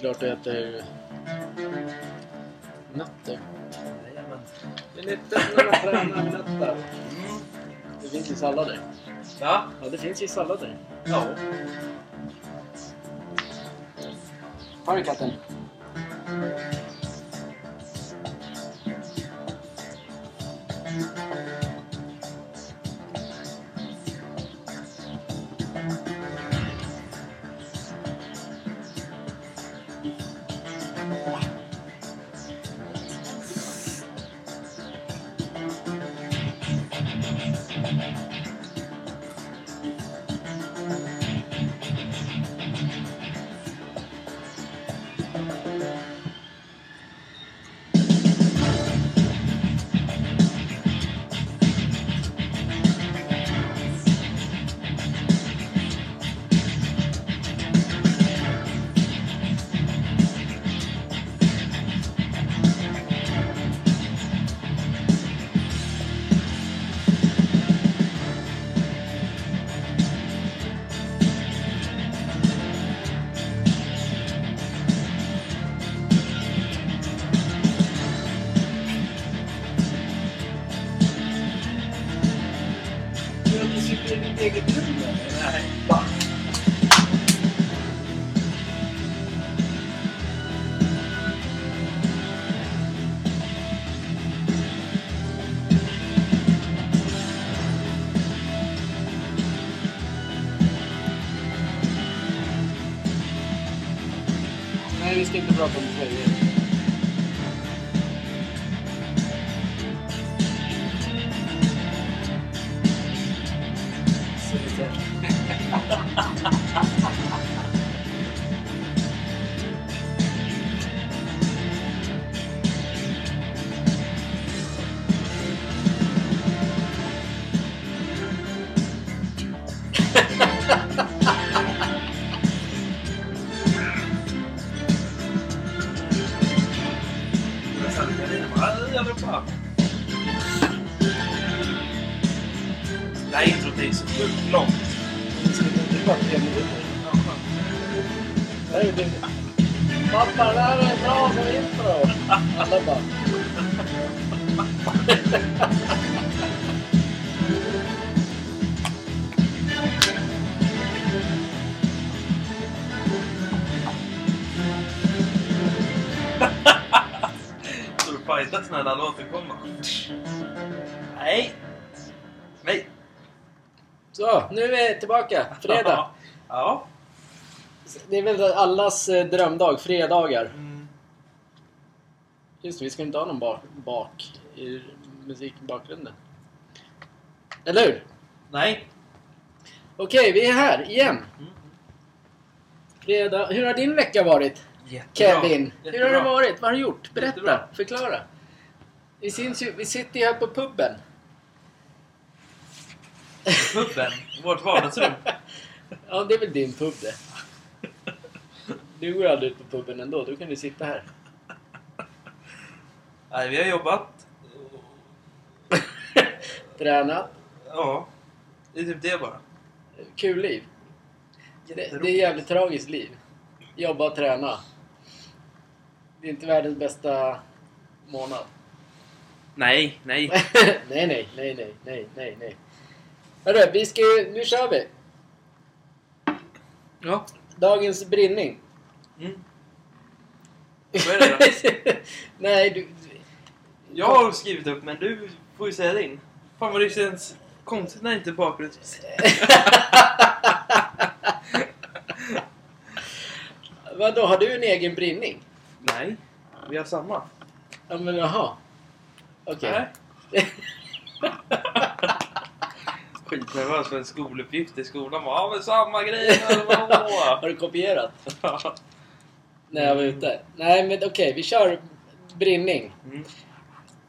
klart du äter nötter. Jajamän. Det är nyttigt när man tränar med nötter. Mm. Det finns i sallader. Va? Ja, det finns i sallader. Ja. Har du katten? Du har inte cyklat i ditt eget rum eller? Nej. Va? Nej, vi ska inte prata om tröjor. Så det är- Jag satt där inne och bara, jag vill bara... Det här introt är så sjukt långt. Vi ska inte prata om tröjor. Nej, det- Pappa, det här är bra som intro! Alla bara... Står du och fightas när alla återkommer? Nej! Nej! Så, nu är vi tillbaka. Fredag. ja. Det är väl allas eh, drömdag, fredagar. Mm. Just det, vi ska inte ha någon bak, bak i musikbakgrunden. Eller hur? Nej. Okej, vi är här igen. Mm. Fredag. Hur har din vecka varit, Jättebra. Kevin? Hur har Jättebra. det varit? Vad har du gjort? Berätta, Jättebra. förklara. Vi, syns ju, vi sitter ju här på puben. Puben, vårt vardagsrum. Ja, det är väl din pub det. Du går aldrig ut på puben ändå, du kan du sitta här. Nej, vi har jobbat. Tränat. Ja. Det är typ det bara. Kul liv. Det, det är Jätteroligt. jävligt tragiskt liv. Jobba och träna. Det är inte världens bästa månad. Nej, nej. nej, nej, nej, nej, nej, nej, nej. Hörru, vi ska ju- Nu kör vi! Ja. Dagens brinning. Mm. Vad är det då? nej, du... Jag har skrivit upp, men du får ju säga din. Fan vad det känns konstigt när inte bakgrunds... Vadå, har du en egen brinning? Nej, vi har samma. Ja, men jaha. Okej. Nej. Skitnervös för en skoluppgift i skolan. Bara, Ja men samma grej. vadå?" har du kopierat? Ja. När jag var ute? Nej, men okej, vi kör brinning. Mm.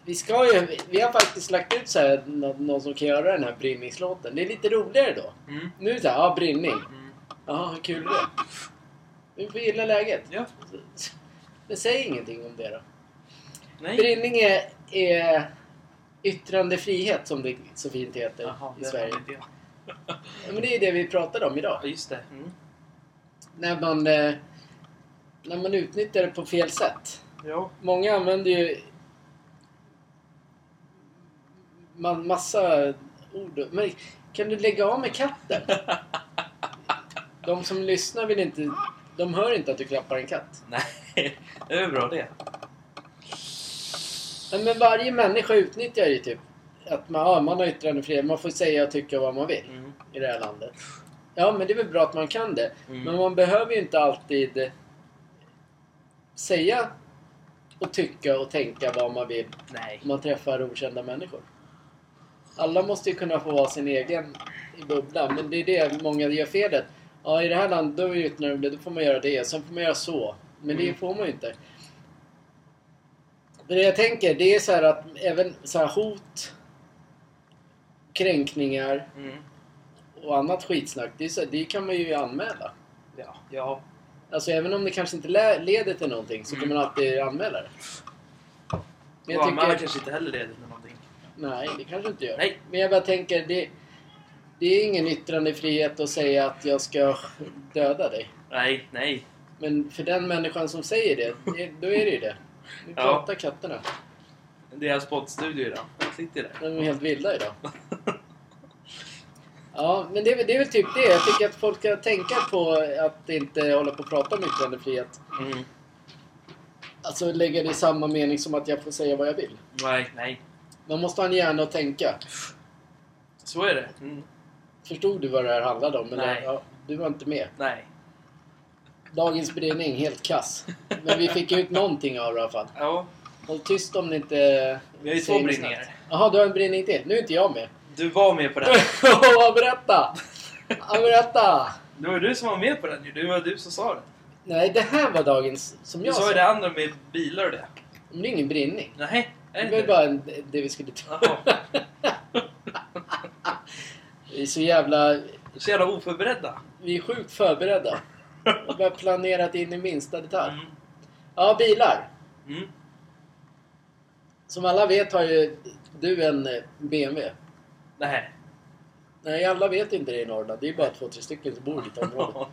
Vi ska ju... Vi har faktiskt lagt ut så här, nå- någon som kan göra den här brinningslåten. Det är lite roligare då. Mm. Nu är det såhär, ja, brinning. Mm. Ja, hur kul det är. Vi får gilla läget. Ja. Men säg ingenting om det då. Nej. Brinning är, är yttrandefrihet som det så fint heter Jaha, i det Sverige. var inte jag. Mm. Ja, men det är ju det vi pratade om idag. Ja, just det. Mm. När man eh, när man utnyttjar det på fel sätt. Ja. Många använder ju man, massa ord. Men kan du lägga av med katten? De som lyssnar vill inte... De hör inte att du klappar en katt. Nej, det är bra det. Nej, Men varje människa utnyttjar ju typ att man, ja, man har yttrandefrihet. Man får säga och tycka vad man vill Mm. i det här landet. Ja, men det är väl bra att man kan det. Mm. Men man behöver ju inte alltid säga och tycka och tänka vad man vill Nej. man träffar okända människor. Alla måste ju kunna få vara sin egen i bubblan, men det är det många gör felet. Ja, i det här landet då är vi utnämnda, då får man göra det, sen får man göra så. Men det Mm. får man ju inte. Men det jag tänker, det är så här att även så här hot, kränkningar Mm. och annat skitsnack, det, är så, det kan man ju anmäla. Ja. Ja. Alltså även om det kanske inte lä- leder till någonting så kan Mm. man alltid anmäla det. Men jag och anmälan tycker... kanske inte heller leder till någonting. Nej, det kanske inte gör. Nej. Men jag bara tänker, det, det är ingen yttrandefrihet att säga att jag ska döda dig. Nej, nej. Men för den människan som säger det, det då är det ju det. Nu Ja. pratar katterna. Deras poddstudio idag. Jag sitter där. De är helt vilda idag. Ja, men det, är väl- det är väl typ det. Jag tycker att folk ska tänka på att inte hålla på och prata om yttrandefrihet. Mm. Alltså lägga det i samma mening som att jag får säga vad jag vill. Nej, nej. Man måste ha en hjärna att tänka. Så är det. Mm. Förstod du vad det här handlade om? Eller? Nej. Ja, du var inte med. Nej. Dagens beredning, helt kass. Men vi fick ut någonting av det i alla fall. Ja. Håll tyst om ni inte... Vi har ju säger två något brinningar. snabbt. Jaha, du har en brinning till. Nu är inte jag med. Du var med på den. Åh, berätta! Ja, berätta! Det var ju du som var med på den ju. Det var du som sa det. Nej, det här var dagens... Som Du jag sa sa. ju det andra med bilar och det. Men det är ingen brinning. Nej, är Det det var ju inte bara en, det vi skulle ta. Jaha. Vi är så jävla... Så jävla oförberedda. Vi är sjukt förberedda. Vi har planerat in i minsta detalj. Ja, bilar. Mm. Som alla vet har ju du en eh, BMW. Nej. Nej, alla vet inte det i Norrland. Det är bara två, tre stycken som bor i ditt område.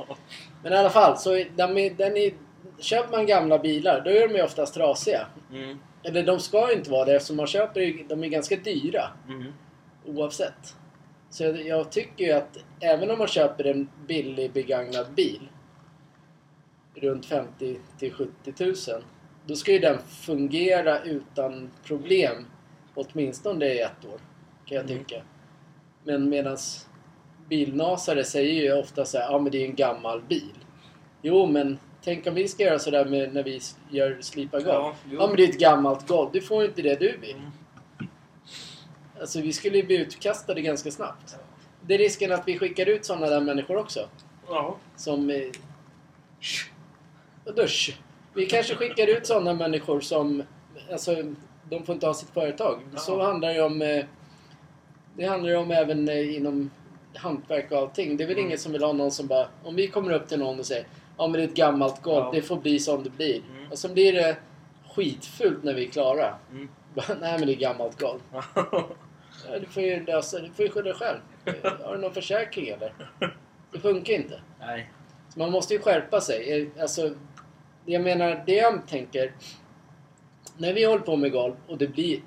Men i alla fall, så är- den är, den är, köper man gamla bilar, då är de ju oftast trasiga. Mm. Eller de ska ju inte vara det eftersom man köper ju- de är ganska dyra Mm. oavsett. Så jag, jag tycker ju att även om man köper en billig begagnad bil runt 50 till 70 000 då ska ju den fungera utan problem åtminstone i ett år kan jag Mm. tycka. Men medans bilnasare säger ju ofta så här, ja ah, men det är en gammal bil. Jo men tänk om vi ska göra sådär med när vi s- gör slipa golv. Ja, Ja, jo. men det är ett gammalt golv, du får ju inte det du vill. Mm. Alltså vi skulle ju bli utkastade ganska snabbt. Det är risken att vi skickar ut sådana där människor också. Ja. Som... eh, Och dusch. Vi kanske skickar ut sådana människor som... Alltså, de får inte ha sitt företag. Ja. Så handlar det om... eh, Det handlar ju om även eh, inom hantverk och allting. Det är väl Mm. ingen som vill ha någon som bara... Om vi kommer upp till någon och säger Ja men det är ett gammalt golv, Ja. det får bli som det blir. Mm. Och sen blir det skitfult när vi är klara. Mm. Bara, Nej men det är gammalt golv. Ja, du får ju lösa Du får ju skylla dig själv. Har du någon försäkring eller? Det funkar inte. Nej. Så man måste ju skärpa sig. Eh, Alltså, jag menar, det jag tänker... När vi håller på med golv och det blir...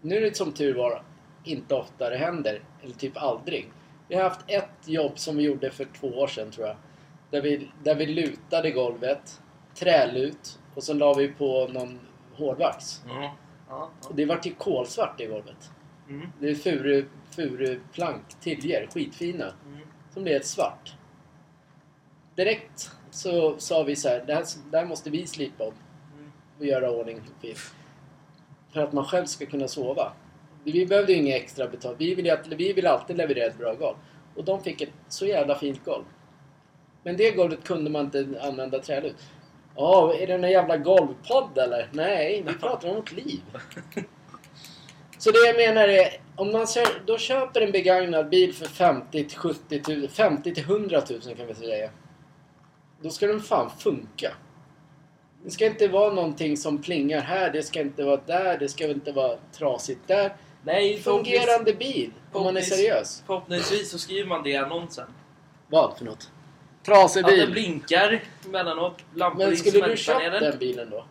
Nu är det som tur var inte ofta det händer. Eller typ aldrig. Vi har haft ett jobb som vi gjorde för två år sedan tror jag. Där vi, där vi lutade golvet. Trälut. Och sen la vi på någon hårdvax. Ja. Ja. Och det vart ju kolsvart i golvet. Mm. Det är furu, furuplank, tiljer, skitfina, Mm. som blev ett svart. Direkt så sa vi så här, det här, det här måste vi slipa om Mm. och göra ordning fint. För att man själv ska kunna sova. Vi behövde ju inga extra betalt. Vi vill, ju att, vi vill alltid leverera ett bra golv. Och de fick ett så jävla fint golv. Men det golvet kunde man inte använda trälut. Ja, är det någon jävla golvpodd eller? Nej, vi pratar om vårt liv. Så det jag menar är, om man kö- då köper en begagnad bil för 50 till 70 000, 50 till 100 000 kan vi säga. Då ska den fan funka. Det ska inte vara någonting som plingar här, det ska inte vara där, det ska inte vara trasigt där. Nej, förhoppnings- Fungerande bil, om man är Poppis. seriös. Förhoppningsvis så skriver man det i annonsen. Vad för något? Trasig Att den bil. blinkar emellanåt. Lampor Men i skulle du köpt instrumentpanelen. den bilen då?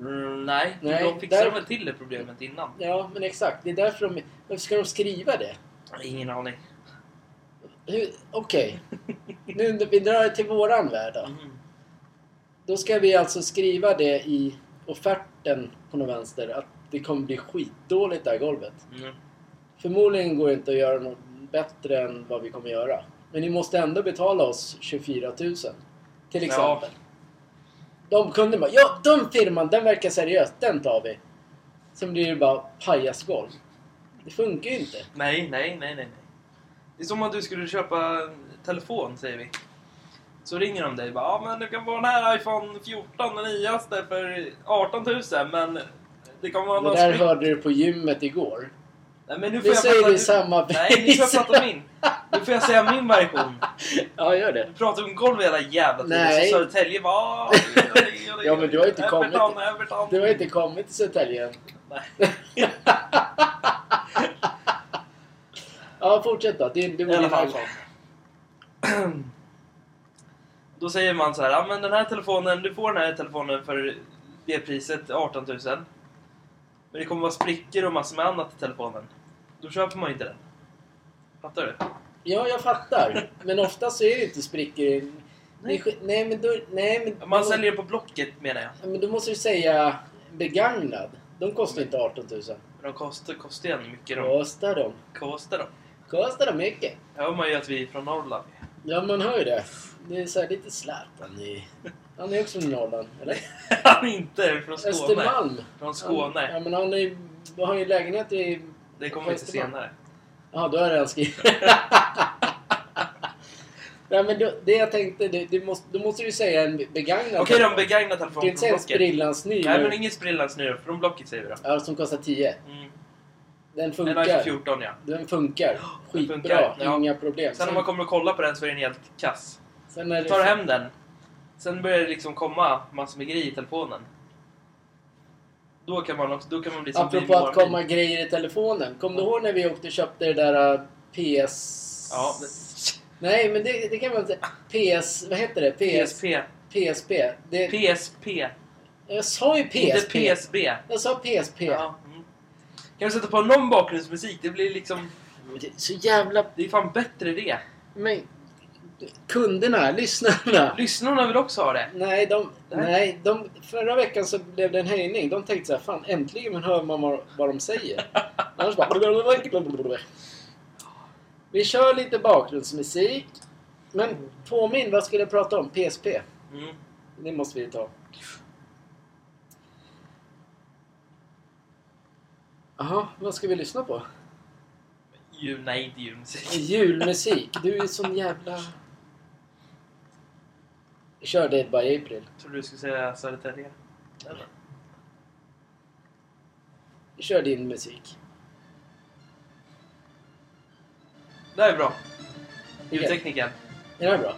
Mm, nej, Nej, de fixade där- väl till det problemet innan. Ja, men exakt. Det är därför de... Varför ska de skriva det? Ingen aning. Hur- Okej. Nu vi drar det till våran värld då. Mm. Då ska vi alltså skriva det i offerten på något vänster att det kommer bli skitdåligt det här golvet. Mm. Förmodligen går det inte att göra något bättre än vad vi kommer göra. Men ni måste ändå betala oss 24 000. Till exempel. De kunde bara, ja den firman den verkar seriös, den tar vi. Sen blir det bara pajasgolv. Det funkar ju inte. Nej, nej, nej, nej. Det är som att du skulle köpa en telefon, säger vi. Så ringer de dig och bara ja men du kan få den här iPhone 14, den nyaste, för 18 000 men det kommer vara Det någon där spring-" hörde du på gymmet igår. Nej men nu får Nu jag säger fatta... du samma Nej, nu får jag pris. fatta min. Nu får jag säga min version. Ja, gör det. Du pratar om golv hela jävla tiden. Nej. Så Södertälje bara... "Ah, Ja, men du har inte kommit- Everton, Everton. Du har inte kommit till Södertälje än. Ja, fortsätt då. Det, det var I alla din fall. iPhone. Då säger man så här, ja men den här telefonen, du får den här telefonen för det priset, 18 000. Men det kommer vara sprickor och massor med annat i telefonen. Då köper man ju inte den. Fattar du? Ja, jag fattar. Men ofta så är det inte sprickor. i- Nej. Det är sk- nej, men då... Nej, men, Man säljer det på Blocket menar jag. Men då måste du säga begagnad. De kostar inte 18 000. Men de kostar, kostar ju ändå mycket de. Kostar de? Kostar de? Kostar de mycket? Hör man ju att vi är från Norrland. Ja, man hör ju det. Det är så här lite Zlatan i... Han är också från Norrland, eller? Han är inte från Skåne. Östermalm. Från Han, Skåne. ja, men han är, ju- har ju lägenhet i... Det kommer inte Östermalm. senare. Ja, då har jag redan skrivit. Nej, men då, det jag tänkte, det, det måste, då måste du säga en begagnad. Okej, de telefon. begagnade Du kan telefonen inte säga från en Blocket. sprillans ny. Nej, men ingen sprillans nu. Från Blocket säger vi då. ja, som kostar 10. Mm. Den En iPhone funkar. 14 ja. Den funkar. Skitbra. funkar, ja. Inga problem. Sen när man kommer och kollar på den så är den helt kass. sen är Jag det- tar hem den. Sen börjar det liksom komma massor med grejer i telefonen. Då kan man, också, då kan man bli som Apropå vi att målar. komma grejer i telefonen. Kommer du ihåg när vi åkte och köpte det där äh, PS... Ja, Nej, men det, det kan man inte säga. PS... Vad heter det? PS... PSP. PSP. Det, PSP. jag sa ju Inte PSP. PSB. Jag sa PSP. Ja. Mm. Kan du sätta på någon bakgrundsmusik? Det blir liksom... Men det är Så jävla... Det är fan bättre det. Men... Kunderna, lyssnarna. Lyssnarna vill också ha det. Nej, de, Nej. nej de, förra veckan så blev det en höjning. De tänkte så här, fan äntligen men hör man vad, vad de säger. Annars bara... Vi kör lite bakgrundsmusik. Men påminn, vad skulle jag prata om? PSP. Mm. Det måste vi ta. Jaha, vad ska vi lyssna på? Ju, nej, inte julmusik. Julmusik. Du är sån jävla... Kör Dead by April. Jag trodde du skulle säga Södertälje. Eller? Kör din musik. Det här är bra. Okej. Ljudteknikern. Är det här bra?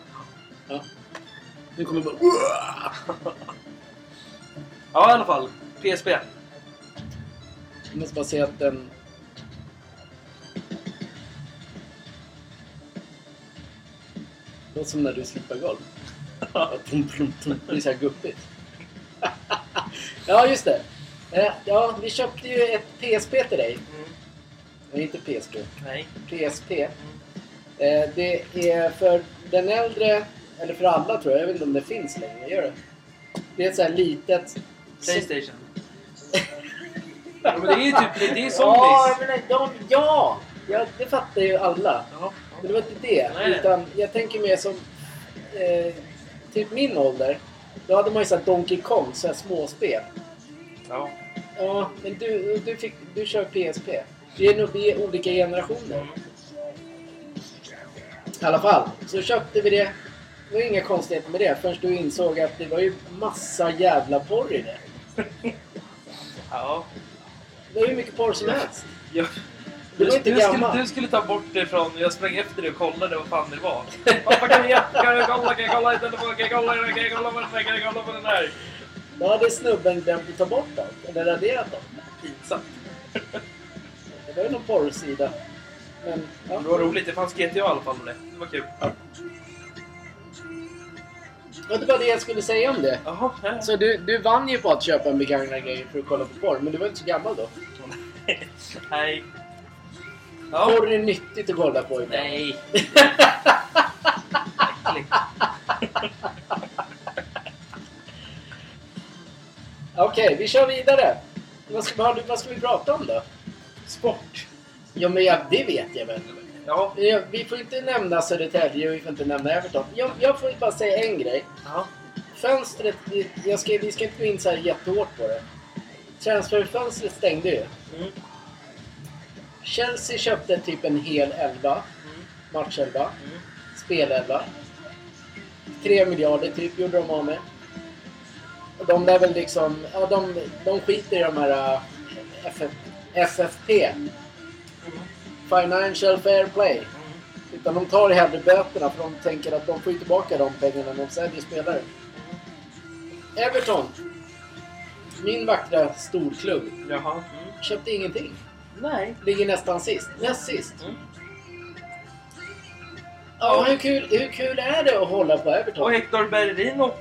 Ja. Nu kommer bara... Uah! Ja, i alla fall. PSP. Jag måste bara se att den... Låter som när du slipar golv. Ja, tum, tum, tum. Det är så här guppigt. ja, just det. Eh, Ja, vi köpte ju ett PSP till dig. Mm. Nej, inte PSP. Nej. PSP. Eh, Det är för den äldre, eller för alla tror jag. Jag vet inte om det finns längre. Gör det? Det är ett så här litet... Playstation. ja, men det är ju typ det är ju Ja, zombies. men nej, de, ja, ja, det fattar ju alla. Ja, Men det var inte det. Nej. Utan jag tänker mer som eh, typ min ålder. Då hade man ju så här Donkey Kong, så här småspel. ja. Ja, men du, du, fick, du kör PSP. Vi är nog vi är olika generationer. I alla fall, så köpte vi det. Det var inga konstigheter med det förrän du insåg att det var ju massa jävla porr i det. ja. Det var hur mycket porr som helst. ja. Du Du, var inte du, skulle, gammal. du skulle ta bort det från... Jag sprang efter dig och kollade vad fan det var. Pappa kan jag, kan jag kolla, kan jag kolla i telefonen, kan jag kolla, kan jag kolla på den här, kan jag kolla på den här. Då hade snubben glömt att ta bort allt, eller raderat allt. Pizza. Det var ju någon porrsida. Men, ja. Det var roligt, det fanns GTA i alla fall med det. Det var kul. Men det var det jag skulle säga om det. Jaha, ja. Så du, du vann ju på att köpa en begagnad grej för att kolla på porr, men du var inte så gammal då. Nej. Ja. Porr är nyttigt att kolla på ibland. Nej. Äckligt. Okej, vi kör vidare. Vad ska, vad, vad ska vi prata om då? Sport. Ja, men jag, det vet jag väl. Ja. Ja, Vi får inte nämna Södertälje och vi får inte nämna Everton. Jag, jag får bara säga en grej. ja. Fönstret, jag ska, vi ska inte gå in så här jättehårt på det. Transferfönstret stängde ju. Mm. Chelsea köpte typ en hel elva, Mm. matchelva, Mm. spelelva. Tre miljarder typ gjorde de av med. Och de lär väl liksom, ja de, de skiter i de här äh, FF, FFP, Mm. Financial Fair Play. Mm. Utan de tar hellre böterna för de tänker att de får ju tillbaka de pengarna när de säljer spelare. Mm. Everton. Min vackra storklubb. Jaha. Mm. Köpte ingenting. Nej. Ligger nästan sist. Näst sist. Mm. Ja, hur kul, hur kul är det att hålla på Och Everton? Hector Berlino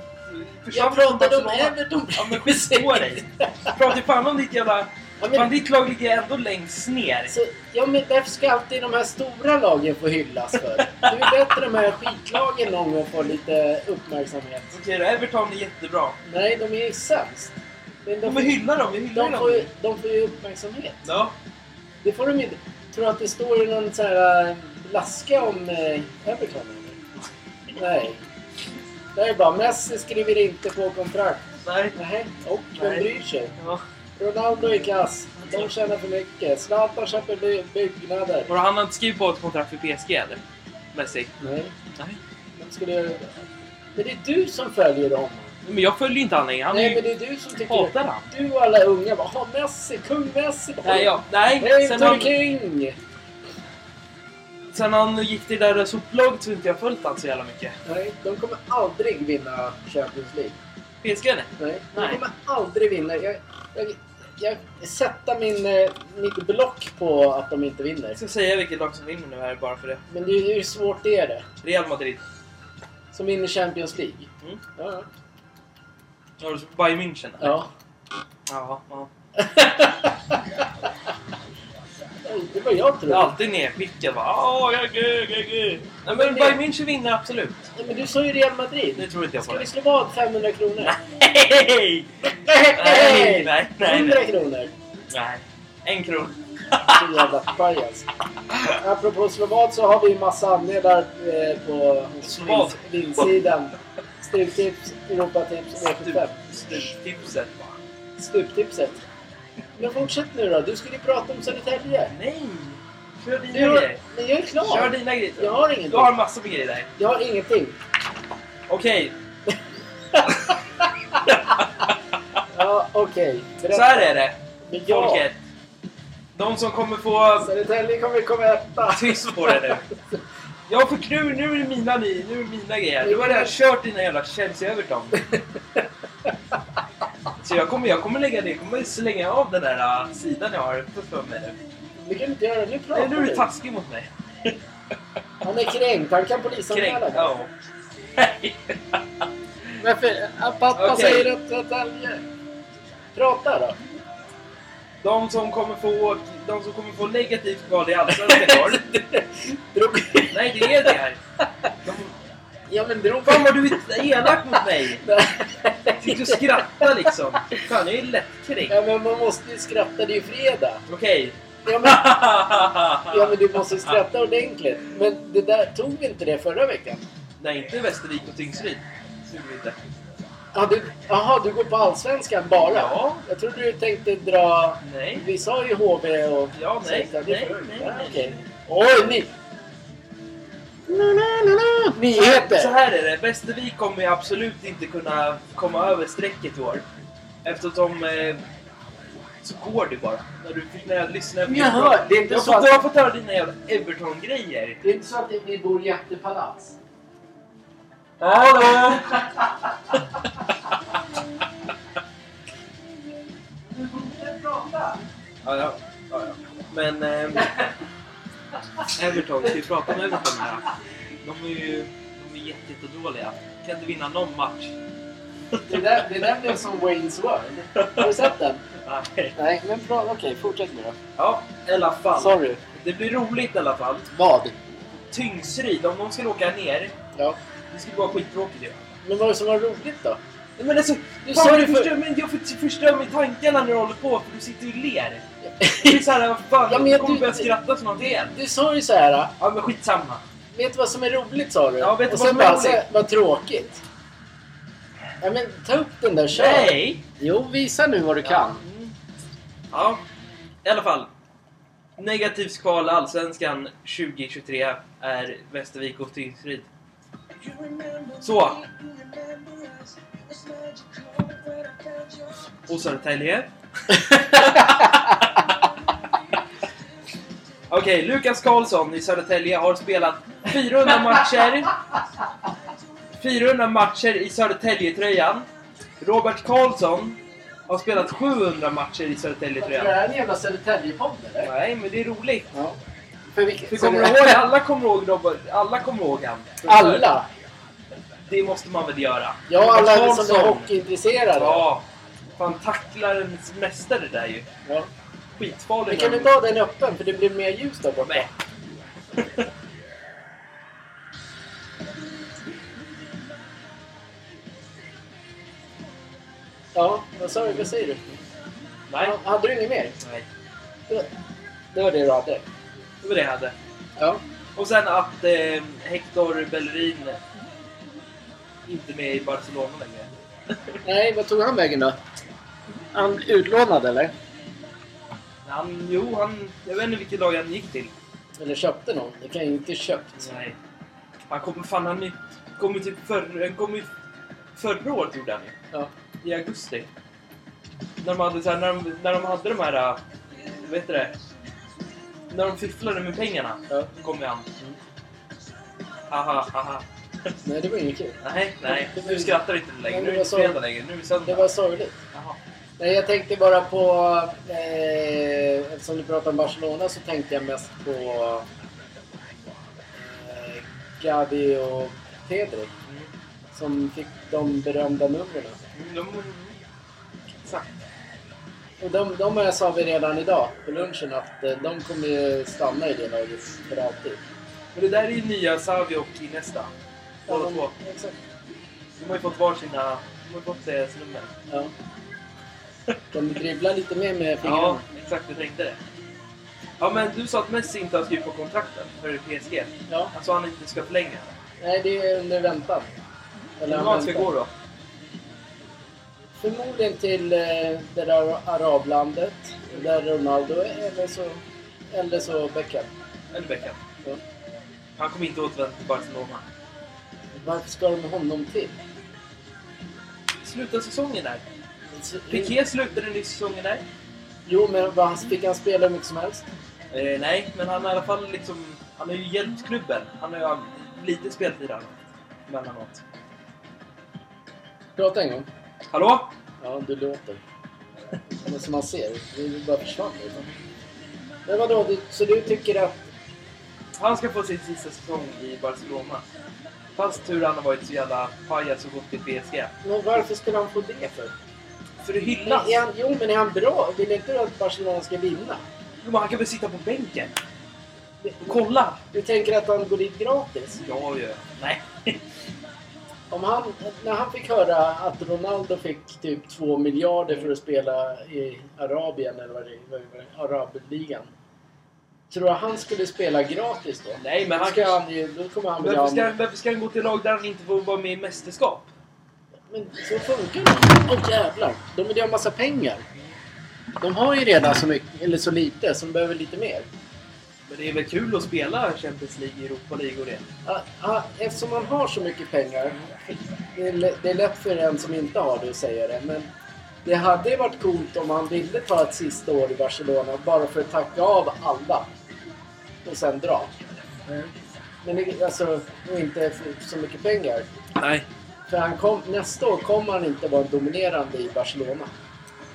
Jag försvann från pratade om Barcelona. Everton Ja men skit på dig! Prata ju fan om ditt jävla... Ja, men- Fan ditt lag ligger ändå längst ner. Så, ja, men därför ska alltid de här stora lagen få hyllas för. Det är väl bättre de här skitlagen någon gång får lite uppmärksamhet. Okej då, Everton är jättebra. Nej, de är ju sämst. Men Ja, men hylla dem, vi hyllar De får, dem. ju, de får ju uppmärksamhet. Ja. Det får de inte. Tror du att det står i någon så här eh, blaska om eh, Everton? eller? Nej. Det är bara Messi skriver inte på kontrakt. Nej. Nej. Och vem Nej. bryr sig? Ja. Ronaldo är kass. De tjänar för mycket. Zlatan köper by- byggnader. Och han har inte skrivit på ett kontrakt för PSG eller? Messi? Nej. Nej. De skulle... Men det är du som följer dem. Men jag följer inte han längre. Han är Nej, ju... men det är du som tycker... Hatar han? Du och alla unga bara ha Messi, kung Messi. Nej, ja. Nej. Hej, sen, Tore han, King! sen han gick till det där soplaget så har inte jag följt han så jävla mycket. Nej, de kommer aldrig vinna Champions League. PSG nej. Nej, Nej. jag kommer aldrig vinna. Jag, jag, jag sätter min, eh, mitt block på att de inte vinner. Jag ska säga vilket lag som vinner nu här bara för det. Men det är ju hur svårt det är det. Real Madrid. Som vinner Champions League. Mm. Ja. Ja, du ska- Bayern München? eller? ja. Jaha, ja. Det var jag Det är tror. alltid nerskickad va. Åh, jag gud, jag gud. Nej Men men det- Bayern München vinner absolut. Nej, Men du sa ju Real Nu Madrid. tror inte jag på Ska vi det. slå vad 500 kronor? Nej! Nej, nej, nej, 100 nej. kronor! nej. En krona. Så jävla pajas. Apropå slå vad så har vi ju massa andelar eh, på Slå vad? vins- vinsidan. Stryktips, Europatips och V75. Stuptipset bara. Stuptipset. Men fortsätt nu då. Du skulle ju prata om Södertälje. Nej! Kör dina Du, grejer. men jag är klar. Kör dina grejer. Jag har Du har ingenting. massor med grejer där. Jag har ingenting. Okej, Ja, okej. Berätta. så här är det. Men jag, Folket. De som kommer få... Södertälje kommer komma etta. Tyst på det nu. Ja, för nu, nu är det mina, ni- nu är det mina grejer. Du har redan kört dina jävla Chelsea över dem. Så jag kommer, jag kommer lägga det, jag kommer slänga av den där äh, sidan jag har för mig nu. Det kan du inte göra. Nu pratar Nej, nu är du du. taskig mot mig. Han är kränkt. Han kan polisanmäla Kränkt. dig. Ja. Varför? Ja, Pappa Okej. säger att Södertälje... Prata då. De som kommer få, de som kommer få negativt val i Allsvenskan i år. Drog- Nej, det är det här. De, Ja, men drog... fan vad du är elak mot mig! Fick du skratta liksom? Fan, jag är lättkränkt. Ja, men man måste ju skratta. Det är ju fredag. Okej. Ja, men, ja, men du måste skratta ordentligt. Men det där, tog vi inte det förra veckan? Nej, inte Västervik och Tingsryd. Det gjorde vi inte. Jaha, du, aha, du går på Allsvenskan bara? Ja. Jag trodde du tänkte dra... Nej. Vi sa ju HV och... Ja, nej, Så, det nej, förut. nej, Ja, nej. okej. Oj, ni... Na, na, na, na. Så Nyheter! här är det, Västervik kommer ju absolut inte kunna komma över strecket i år. Eftersom... Eh, så går det bara. När du när jag lyssnar på Jaha, Everton. det är inte jag så får, att- Du har fått höra dina jävla Everton-grejer. Det är inte så att vi bor i jättepalats? Hallå! Du borde prata! Ja, ja. ja, ja. Men... ehm, Everton, ska vi prata om Everton här? De är ju... De är jätte, jättedåliga. Kan inte vinna någon match. Det där, det där blev som Wayne's World. Har du sett den? Nej. Nej, men bra. Okej, fortsätt nu då. Ja, i alla fall. Sorry. Det blir roligt i alla fall. Vad? Tyngsryd, om de skulle åka ner. Ja. Det skulle vara skittråkigt ju. Men vad var det som var roligt då? Nej, Men alltså, Du fan, sa du det för- förstör, men jag för- förstör mig tankarna när du håller på för du sitter och ler. Det är såhär, vad fan, Ja, men jag jag- kommer du- börja skratta för någonting igen. Du sa ju så här. Ja men skitsamma. Vet du vad som är roligt sa du? Ja, vet du Och vad sen som är bara, så här, roligt? Vad tråkigt. Ja, men ta upp den där kör. Nej! Jo, visa nu vad du kan. Mm. Ja, i alla fall. Negativt skal Allsvenskan 2023 är Västervik och Tingsryd. Så. Och Södertälje. Okej, Lukas Karlsson i Södertälje har spelat 400 matcher. 400 matcher i Södertäljetröjan. Robert Karlsson har spelat 700 matcher i Södertäljetröjan. här är en jävla Södertäljepodd eller? Nej, men det är roligt. Ja. För vilket, För kommer du ihåg, alla kommer ihåg Robert, alla kommer ihåg han. Alla? Det måste man väl göra. Ja, Robert alla liksom som är Karlsson. hockeyintresserade. Ja. Fan, tacklarens mästare där ju. Ja. Skitfarlig. Men kan du inte ha den öppen för det blir mer ljus där borta? Nej. Ja, vad sa du? Vad säger du? Nej. Ja, Hade du inget mer? Nej. Det var- Det var det du hade? Det var det jag hade. Ja. Och sen att eh, Hector Bellerin inte med i Barcelona längre. Nej, vad tog han vägen då? Han utlånad eller? Han, jo, han, jag vet inte vilket lag han gick till. Eller köpte någon? Det kan ju inte köpt. Nej. Han kommer fan, han är- kommer typ förr, han kom ju förra året gjorde han ju. Ja. I augusti. När de hade, så här, när de, när de hade de här, äh, vet du det? När de fifflade med pengarna ja. kom ju han. Haha, haha. Nej, det var inget kul. Nej, nej. Nu skrattar inte du längre. Men Nu det är det var inte så- fredag längre. Nu är det Det söndag. var sorgligt. Jaha. Nej, jag tänkte bara på... Eh, eftersom du pratade om Barcelona så tänkte jag mest på... Eh, Gavi och Pedri. Mm. Som fick de berömda numren. Mm, De... Exakt. Och de, de här sa vi redan idag på lunchen att eh, de kommer ju stanna i det laget för alltid. Men det där är ju nya Savio och Iniesta. Båda två. Exakt. De har ju fått var sina... De har ju fått deras nummer. Ja. Kan du dribbla lite mer med fingrarna? Ja, exakt. Jag tänkte det. Ja, men du sa att Messi inte har skrivit på kontrakten för PSG. Ja. Alltså han inte ska förlänga. Nej, det är under väntan. Eller hur han han ska väntar. gå då? Förmodligen till eh, det där arablandet där Ronaldo är, eller så, eller så Beckham. Eller Beckham. Ja. Han kommer inte återvända till Barcelona. Varför ska de med honom till? Slutar säsongen där. Piqué slutade nyss säsongen där. Jo, men vad han, fick han spela hur mycket som helst? Eh, nej, men han har i alla fall liksom... Han har ju hjälpt klubben. Han har ju haft lite speltid här. Mellanåt. Prata en gång. Hallå? Ja, du låter. Men som man ser, det bara försvann liksom. Men vadå, du, så du tycker att... Han ska få sin sista säsong i Barcelona. Fast tur han har varit så jävla pajas och gått till PSG. Men varför skulle han få det för? För det Men hyllas! är han, jo, men är han bra? Vill inte du att Barcelona ska vinna? Jo, men han kan väl sitta på bänken? Kolla! Du tänker att han går dit gratis? Ja, ja. Nej. Om han, när han fick höra att Ronaldo fick typ 2 miljarder för att spela i Arabien, eller vad det vad det var, Arabligan. Tror du han skulle spela gratis då? Nej, men Då han... ska han ju, då kommer han bli Varför av ska, med... han, varför ska han gå till lag där han inte får vara med i mästerskap? Men så funkar det. Åh jävlar! De vill ju ha massa pengar. De har ju redan så mycket, eller så lite, så de behöver lite mer. Men det är väl kul att spela Champions League, Europa League och det? Ah, ah, Eftersom man har så mycket pengar, det är, lä- det är lätt för en som inte har det att säga det, men det hade ju varit coolt om han ville ta ett sista år i Barcelona bara för att tacka av alla och sen dra. Men det, alltså, och inte få så mycket pengar. Nej. För han kom, nästa år kommer han inte vara dominerande i Barcelona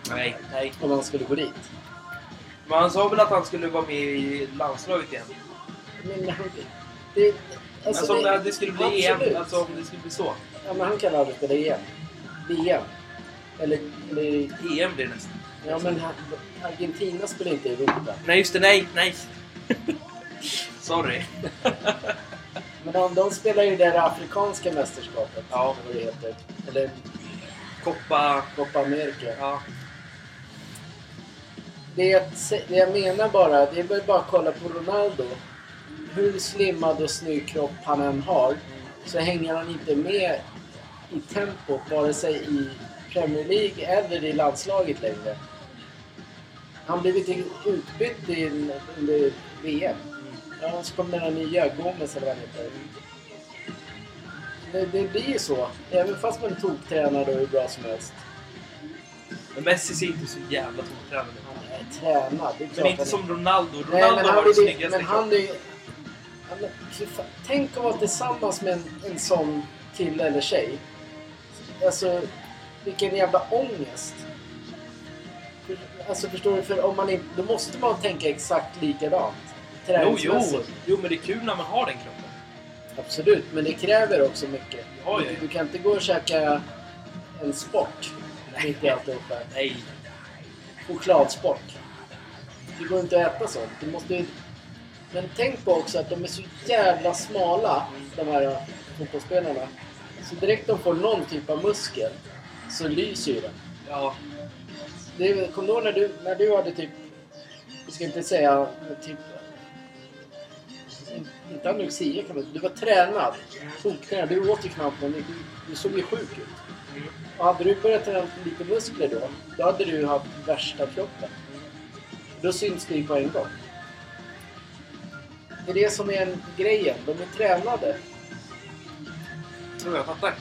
Nej. Nej. om han skulle gå dit. Men han sa väl att han skulle vara med i landslaget igen? Men han, det, Alltså, om det, det skulle bli absolut. EM, alltså om det skulle bli så. Ja, men han kan aldrig spela EM. VM. Eller, eller EM E blir det nästan. ja, men han, Argentina spelar inte i Europa. Nej, just det. Nej, nej. Sorry. Men de, de spelar ju det där afrikanska mästerskapet. Ja. Vad det heter. Eller Koppa... Copa America. Ja. Det jag, se- det jag menar bara, det är väl bara att kolla på Ronaldo. Hur slimmad och snygg kropp han än har så hänger han inte med i tempot vare sig i Premier League eller i landslaget längre. Han blev inte utbytt i- under VM. Ja, så kom den här nya Gomes eller vad han heter. Det, det blir ju så. Även fast man toktränar då hur bra som helst. Men Messi ser inte så jävla toktränad ut. Nej, Träna, det är klart Men inte han- som Ronaldo. Ronaldo Nej, men han har den är ju- snyggaste Men han är ju... han är- fy fan, Tänk att vara tillsammans med en, en sån kille eller tjej. Alltså, vilken jävla ångest. För- Alltså förstår du? För om man inte, då måste man tänka exakt likadant. Jo, jo. träningsmässigt. jo, men det är kul när man har den kroppen. Absolut, men det kräver också mycket. Ja, ja, ja. Du kan inte gå och käka en sport mitt i alltihopa. Nej. chokladsport. Det går inte att äta sånt. Du måste ju... Men tänk på också att de är så jävla smala, de här eh, fotbollsspelarna. Så direkt de får någon typ av muskel så lyser ju den. Ja. Det är- Kommer du ihåg när du, när du hade typ... Jag ska inte säga... men Typ, inte anorexia kan man Du var tränad. Toktränad. Du åt ju knappt någonting. Du, du såg ju sjuk ut. Mm. Och hade du börjat träna lite muskler då, då hade du haft värsta kroppen. Då syns det ju på en gång. Det är det som är en grejen. De är tränade. Jo, jag fattar.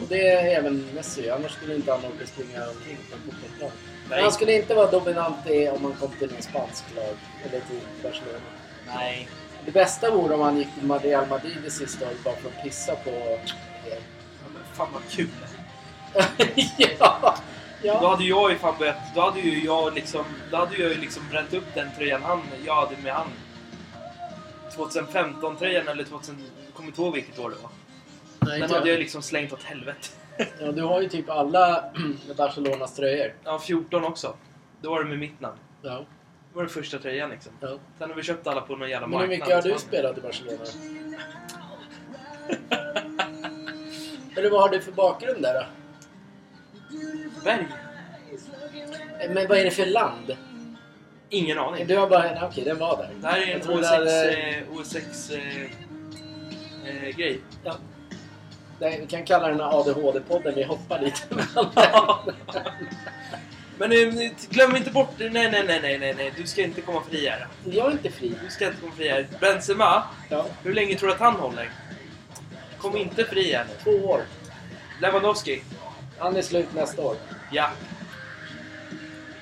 Och det är även Messi. Annars skulle inte han orka springa omkring på en fotbollsplan. Men Nej. han skulle inte vara dominant i, om han kom till en spansk lag. Eller till Barcelona. Nej. Det bästa vore om han gick till Real Madrid det sista året bara för att pissa på... Ja, men fan vad kul. ja! Då ja. hade jag ju fan börjat... Då hade ju jag liksom... Då hade jag ju liksom bränt upp den tröjan han, jag hade med han. 2015-tröjan eller 2000... Jag kommer inte ihåg vilket år det var. Nej, Den inte hade jag. jag liksom slängt åt helvete. ja, du har ju typ alla Barcelonas tröjor. Ja, 14 också. Då var det med mitt namn. Ja. Det var den första tröjan liksom. ja. Sen har vi köpt alla på någon jävla Men hur marknad. mycket har i du Spanien. spelat i Barcelona? Eller vad har du för bakgrund där då? Berg? Eh, Men vad är det för land? Ingen aning. Du har bara... nej, Okej, den var där. Det här är en eh, Jag tror det här är- O6-grej. eh, grej. Ja. Nej, vi kan kalla den här ADHD-podden. Vi hoppar lite Men eh, glöm inte bort... Nej, nej, nej, nej, nej, nej. Du ska inte komma fri här. Jag är inte fri. Du ska inte komma fri här. Benzema, Ja. hur länge tror du att han håller? Kom inte fri här nu. Två år. Lewandowski? Han är slut nästa år. Ja.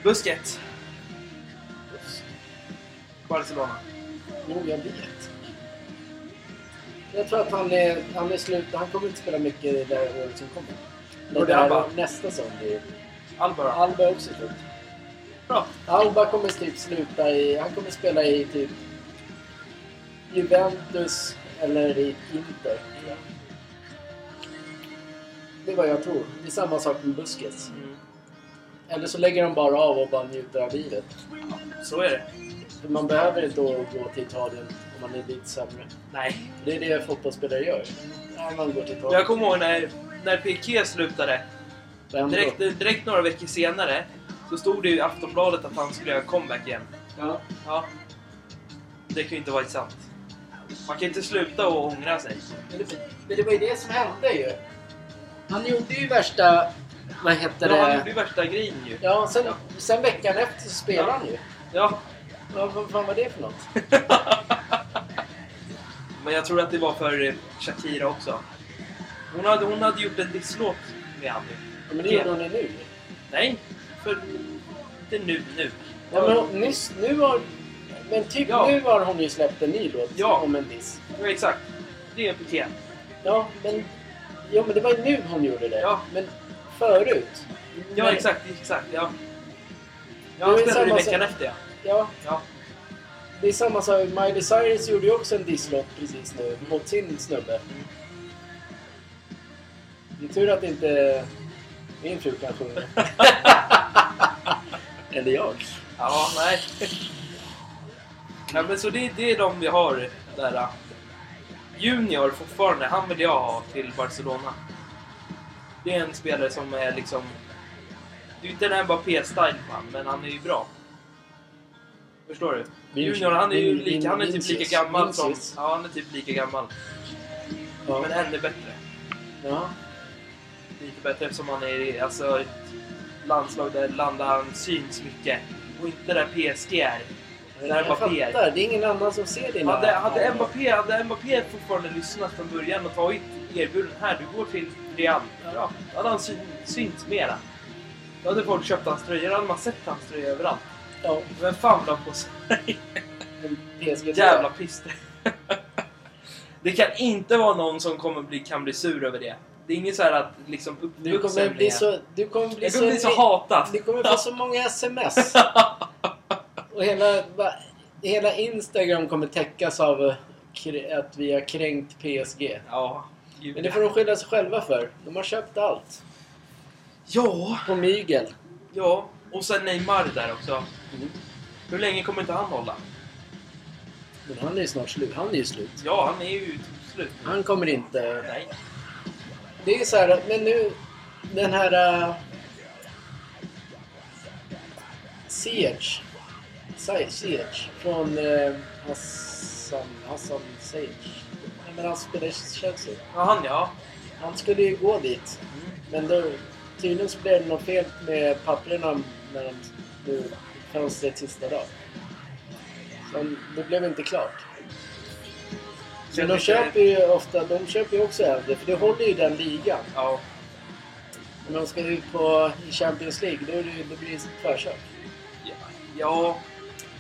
Busquets? Barcelona? Jo, jag vet. Jag tror att han är, han är slut. Han kommer inte spela mycket i det här året som kommer. Då är det där- Alba. Nästa säsong blir det. Alba då? Alba är också slut. Bra. Alba kommer typ sluta i... Han kommer spela i typ Juventus eller i Inter. Det är vad jag tror. Det är samma sak med Busquets. Mm. Eller så lägger de bara av och bara njuter av livet. Så är det. För man behöver inte gå till Italien om man är lite sämre. Nej. Det är det fotbollsspelare gör. Ja, man går till Italien. Jag kommer ihåg när, när PK slutade. Vem då? Direkt, direkt några veckor senare så stod det i Aftonbladet att han skulle göra comeback igen. Ja. Ja. Det kan ju inte vara sant. Man kan inte sluta och ångra sig. Men det, men det var ju det som hände ju. Han gjorde ju värsta... Vad hette Ja, han det? gjorde ju värsta grejen ju. Ja, sen, sen veckan efter så spelade han ju. Ja. Vad, vad fan var det för något? Men jag tror att det var för eh, Shakira också. Hon hade, hon hade gjort en disslåt med Andy. Ja, men det gjorde hon ju nu. Nej, för... Inte nu, nu. Ja, men hon, nyss, nu har... Men typ Ja. nu har hon ju släppt en ny låt Ja. om en diss. Ja, exakt. Det är PK. Ja, men... Jo, men det var ju nu hon gjorde det. Ja. Men förut. Ja, Nej. exakt, exakt. Ja. Ja, Det är han spelade samma ju veckan sak. efter ja. Ja. ja. Det är samma sak. Miley Cyrus gjorde ju också en disslåt precis nu mot sin snubbe. Det är tur att inte min fru kan sjunga. Eller jag. Ja, nej. Ja, men så det, det är de vi har där. äh. Junior fortfarande, han vill jag ha till Barcelona. Det är en spelare som är liksom... Det är ju inte den här Mbappé-style på han, men han är ju bra. Förstår du? Junior, han är ju Vin- lika, han är typ Vinicius. lika gammal som... Vinicius. Ja, han är typ lika gammal. Ja. Men ännu bättre. Ja. Lite bättre eftersom han är i alltså, ett landslag där landar han syns mycket. Och inte där PSG är. Det där Jag Mbappé är. fattar. Det är ingen annan som ser dina... Hade, hade, Mbappé, hade Mbappé fortfarande lyssnat från början och tagit erbjuden här, du går till Real. Ja, då hade han syn, synts mera. Då hade folk köpt hans tröjor, då hade man sett hans tröja överallt. Ja, Vem fan vill ha på sig en PSG jävla pister? det kan inte vara någon som kommer bli, kan bli sur över det. Det är inget så här att liksom Du kommer bli så... Du kommer bli Jag kommer bli så så hatad. Du Alltså, kommer få så många sms. Och hela, va- hela Instagram kommer täckas av eh, kr- att vi har kränkt PSG. Ja, Men det får de skylla sig själva för. De har köpt allt. ja, På mygel. ja. Och sen Neymar där också. Hur länge kommer inte han hålla? Men han är ju snart slut. Han är ju slut. Ja, han är ju slut. Han kommer inte... Nej. Det är ju så här, att- men nu... Den här... Uh, Siege. Si- Siege. Från eh, Hassan... Hassan Siege. Nej, men han spelar i Chelsea. Ja, han ja. Han skulle ju gå dit. Men då, tydligen så blev det något fel med papperna när de nu fönstret sista dag. Men det blev inte klart. Men de köper ju ofta, de köper ju också äldre för det håller ju den ligan. Ja. När de ska ut på i Champions League då, är det, ju- då blir det tvärköp. Ja.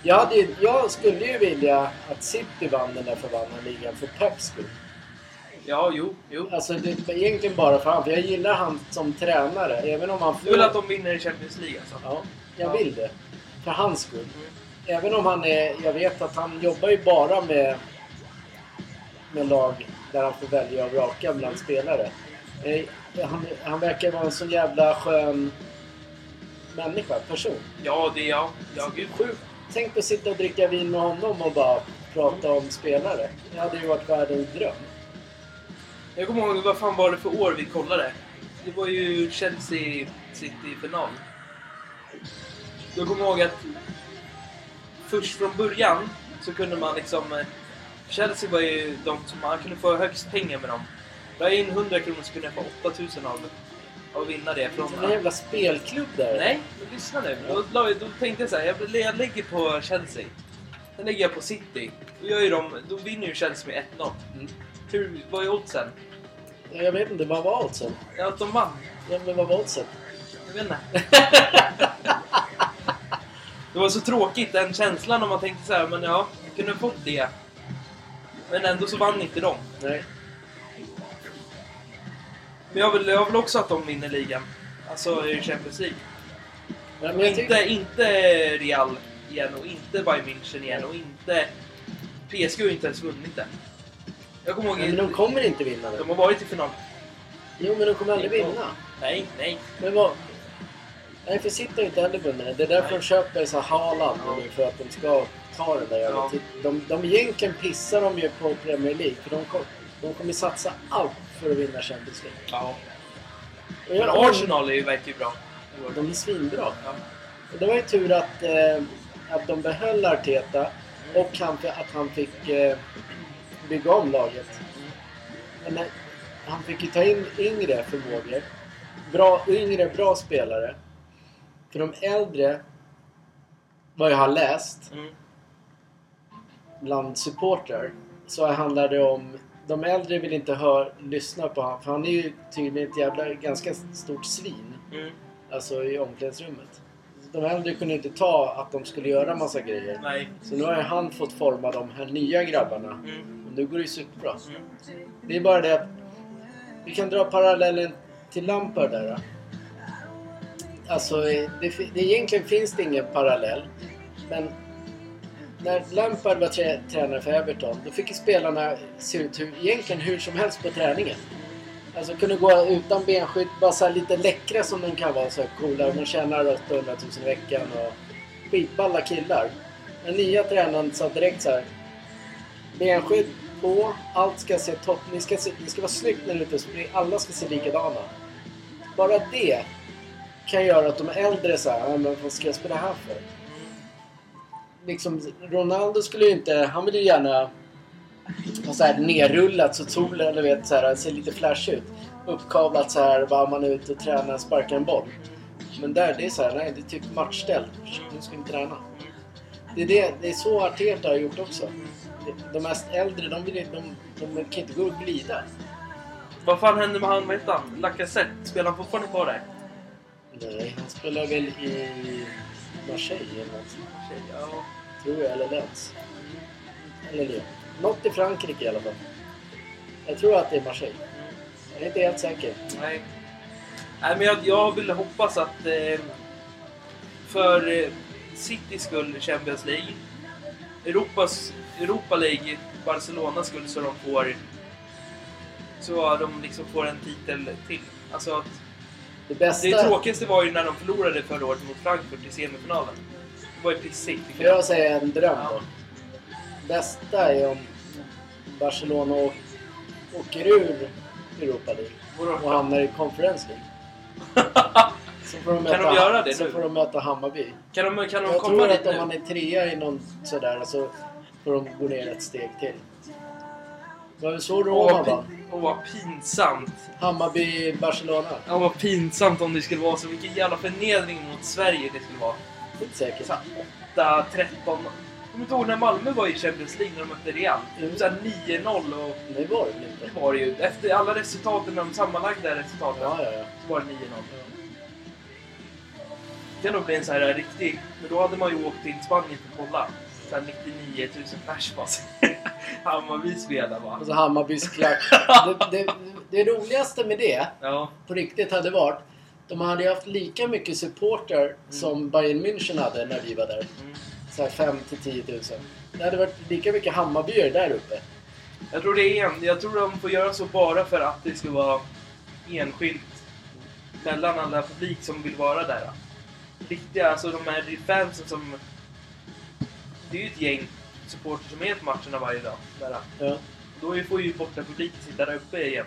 Jag, hade, ju- jag skulle ju vilja att City vann den där förbannade ligan för Peps skull. Ja, jo, jo. Alltså det var egentligen bara för han, för jag gillar han som tränare. Även om han Du vill att de vinner i Champions League alltså? Ja, jag vill det. För hans skull. Även om han är... Jag vet att han jobbar ju bara med, med lag där han får välja och vraka bland spelare. Eh, Han, han verkar vara en så jävla skön människa, person. Ja, det är jag. Ja, gud. Sjukt. Tänk att sitta och dricka vin med honom och bara prata om spelare. Det hade ju varit världens dröm. Jag kommer ihåg, vad fan var det för år vi kollade? Det var ju Chelsea City-final. Jag kommer ihåg att först från början så kunde man liksom... eh, Chelsea var ju de som man kunde få högst pengar med dem. La jag in 100 kronor så kunde jag få 8000 av av att vinna det från... Det är en jävla spelklubb där. Nej, men lyssna nu. Då, la jag- då tänkte jag så här, jag, jag lägger på Chelsea. Sen lägger jag på City. Då, gör ju de, då vinner ju Chelsea med 1-0. Mm. Hur, vad är oddsen? Jag vet inte, vad var oddsen? Ja, Att de vann? Ja, men vad var oddsen? Jag vet inte. det var så tråkigt, den känslan när man tänkte så här, men ja, jag kunde ha fått det. Men ändå så vann inte de. Nej. Men jag vill, jag vill också att de vinner ligan. Alltså i Champions League. Ja, men Och jag tycker- inte, inte Real igen och inte Bayern München igen och inte... PSG har ju inte ens vunnit än. Jag kommer ihåg... Nej, men de kommer inte vinna det. de har varit i final. Jo, men de kommer aldrig vinna. Nej, nej. Men vad... Nej, för City har inte heller vunnit det. Det är därför Nej. de köper så här Haaland nu, för att de ska ta den där jävla Ja. titeln. De, de egentligen pissar de ju på Premier League, för de, kom, de kommer satsa allt för att vinna Champions League. Ja. Och Men jag- Arsenal är ju, verkar ju bra. De är svinbra. Ja. Och det var ju tur att, eh, att de behöll Arteta och han, att han fick eh, bygga om laget. Men eh, han fick ju ta in yngre förmågor. Bra, yngre, bra spelare. För de äldre, vad jag har läst, Mm. bland supportrar, så handlar det om de äldre vill inte hör, lyssna på honom, för han är ju tydligen ett jävla, ganska stort svin. Mm. Alltså i omklädningsrummet. De äldre kunde inte ta att de skulle göra massa grejer. Nej. Så nu har ju han fått forma de här nya grabbarna. Mm. Och nu går det ju superbra. Mm. Det är bara det att vi kan dra parallellen till Lampard där. då. Alltså, eh, det, fi- det, egentligen finns det ingen parallell. Men när Lampard var trä- tränare för Everton, då fick ju spelarna se ut hur, egentligen hur som helst på träningen. Alltså kunde gå utan benskydd, bara så här lite läckra som de kan vara, så här coola. Och De tjänar 800 000 i veckan och skitballa killar. Den nya tränaren sa direkt så här. Benskydd på, allt ska se topp, ni ska, se, ni ska vara snyggt när ni är ute och springer, alla ska se likadana. Bara det kan göra att de äldre så här, "Ja, men vad ska jag spela här för? liksom, Ronaldo skulle ju inte... Han vill ju gärna ha så här nerrullat så att solen, eller vet, så här, ser lite flash ut. Uppkavlat så här, var man är ute och tränar, sparkar en boll. Men där, det är så här, nej, det är typ matchställ. Nu ska vi träna. Det är, det, det är så Arteta har gjort också. De- De mest äldre, de, vill, ju- de, de kan inte gå och glida. Vad fan hände med han, vad heter han? Lacazette? Spelar han fortfarande kvar där? Nej, han spelar väl i Marseille eller något. Tjej, ja. Mm, Tror jag, eller Lens. Eller Lyon. Något i Frankrike i alla fall. Jag tror att det är Marseille. Jag är inte helt säker. mm, Nej. Nej, men jag, jag vill hoppas att eh, för eh, Citys skull Champions League, Europas, Europa League, Barcelonas skull så de får så de liksom får en titel till. Alltså att, Det bästa... det tråkigaste var ju när de förlorade förra året mot Frankfurt i semifinalen. Det var ju pissigt. Får jag säga en dröm då? Ja. Bästa är om Barcelona å- åker ur Europa League och hamnar i Conference League. Så får de möta, de göra det så nu? får de möta Hammarby. Kan de, kan de Jag komma tror dit att om nu? man är trea i någon sådär så får de gå ner ett steg till. Det var väl så Åh, Roma vad vann? pin- åh, vad pinsamt. Hammarby, Barcelona. Ja, vad pinsamt om det skulle vara så. Vilken jävla förnedring mot Sverige det skulle vara. Inte säkert. Så här 8, 13... Jag kommer inte ihåg när Malmö var i Champions League när de mötte Real. typ Mm. Så här 9-0 och... Nej, var det väl inte? Det var det ju. Efter alla resultaten, de sammanlagda resultaten, Ja, ja, ja. så var det 9-0. Det kan nog bli en så här riktig... Men då hade man ju åkt till Spanien för att kolla. Så här 99 000 pers bara. Hammarby spelar va? Och så Alltså, Hammarbys klack. Det, det, det roligaste med det, Ja. på riktigt, hade varit de hade ju haft lika mycket supporter som Bayern München hade när vi var där. Mm. Så här 5 till 10 000. Det hade varit lika mycket Hammarbyare där uppe. Jag tror det är en. Jag tror de får göra så bara för att det ska vara enskilt mellan alla publik som vill vara där. Riktiga, alltså de här fansen som... Det är ju ett gäng supporter som är på matcherna varje dag. Där. Ja. Då får ju borta publiken sitta där uppe igen.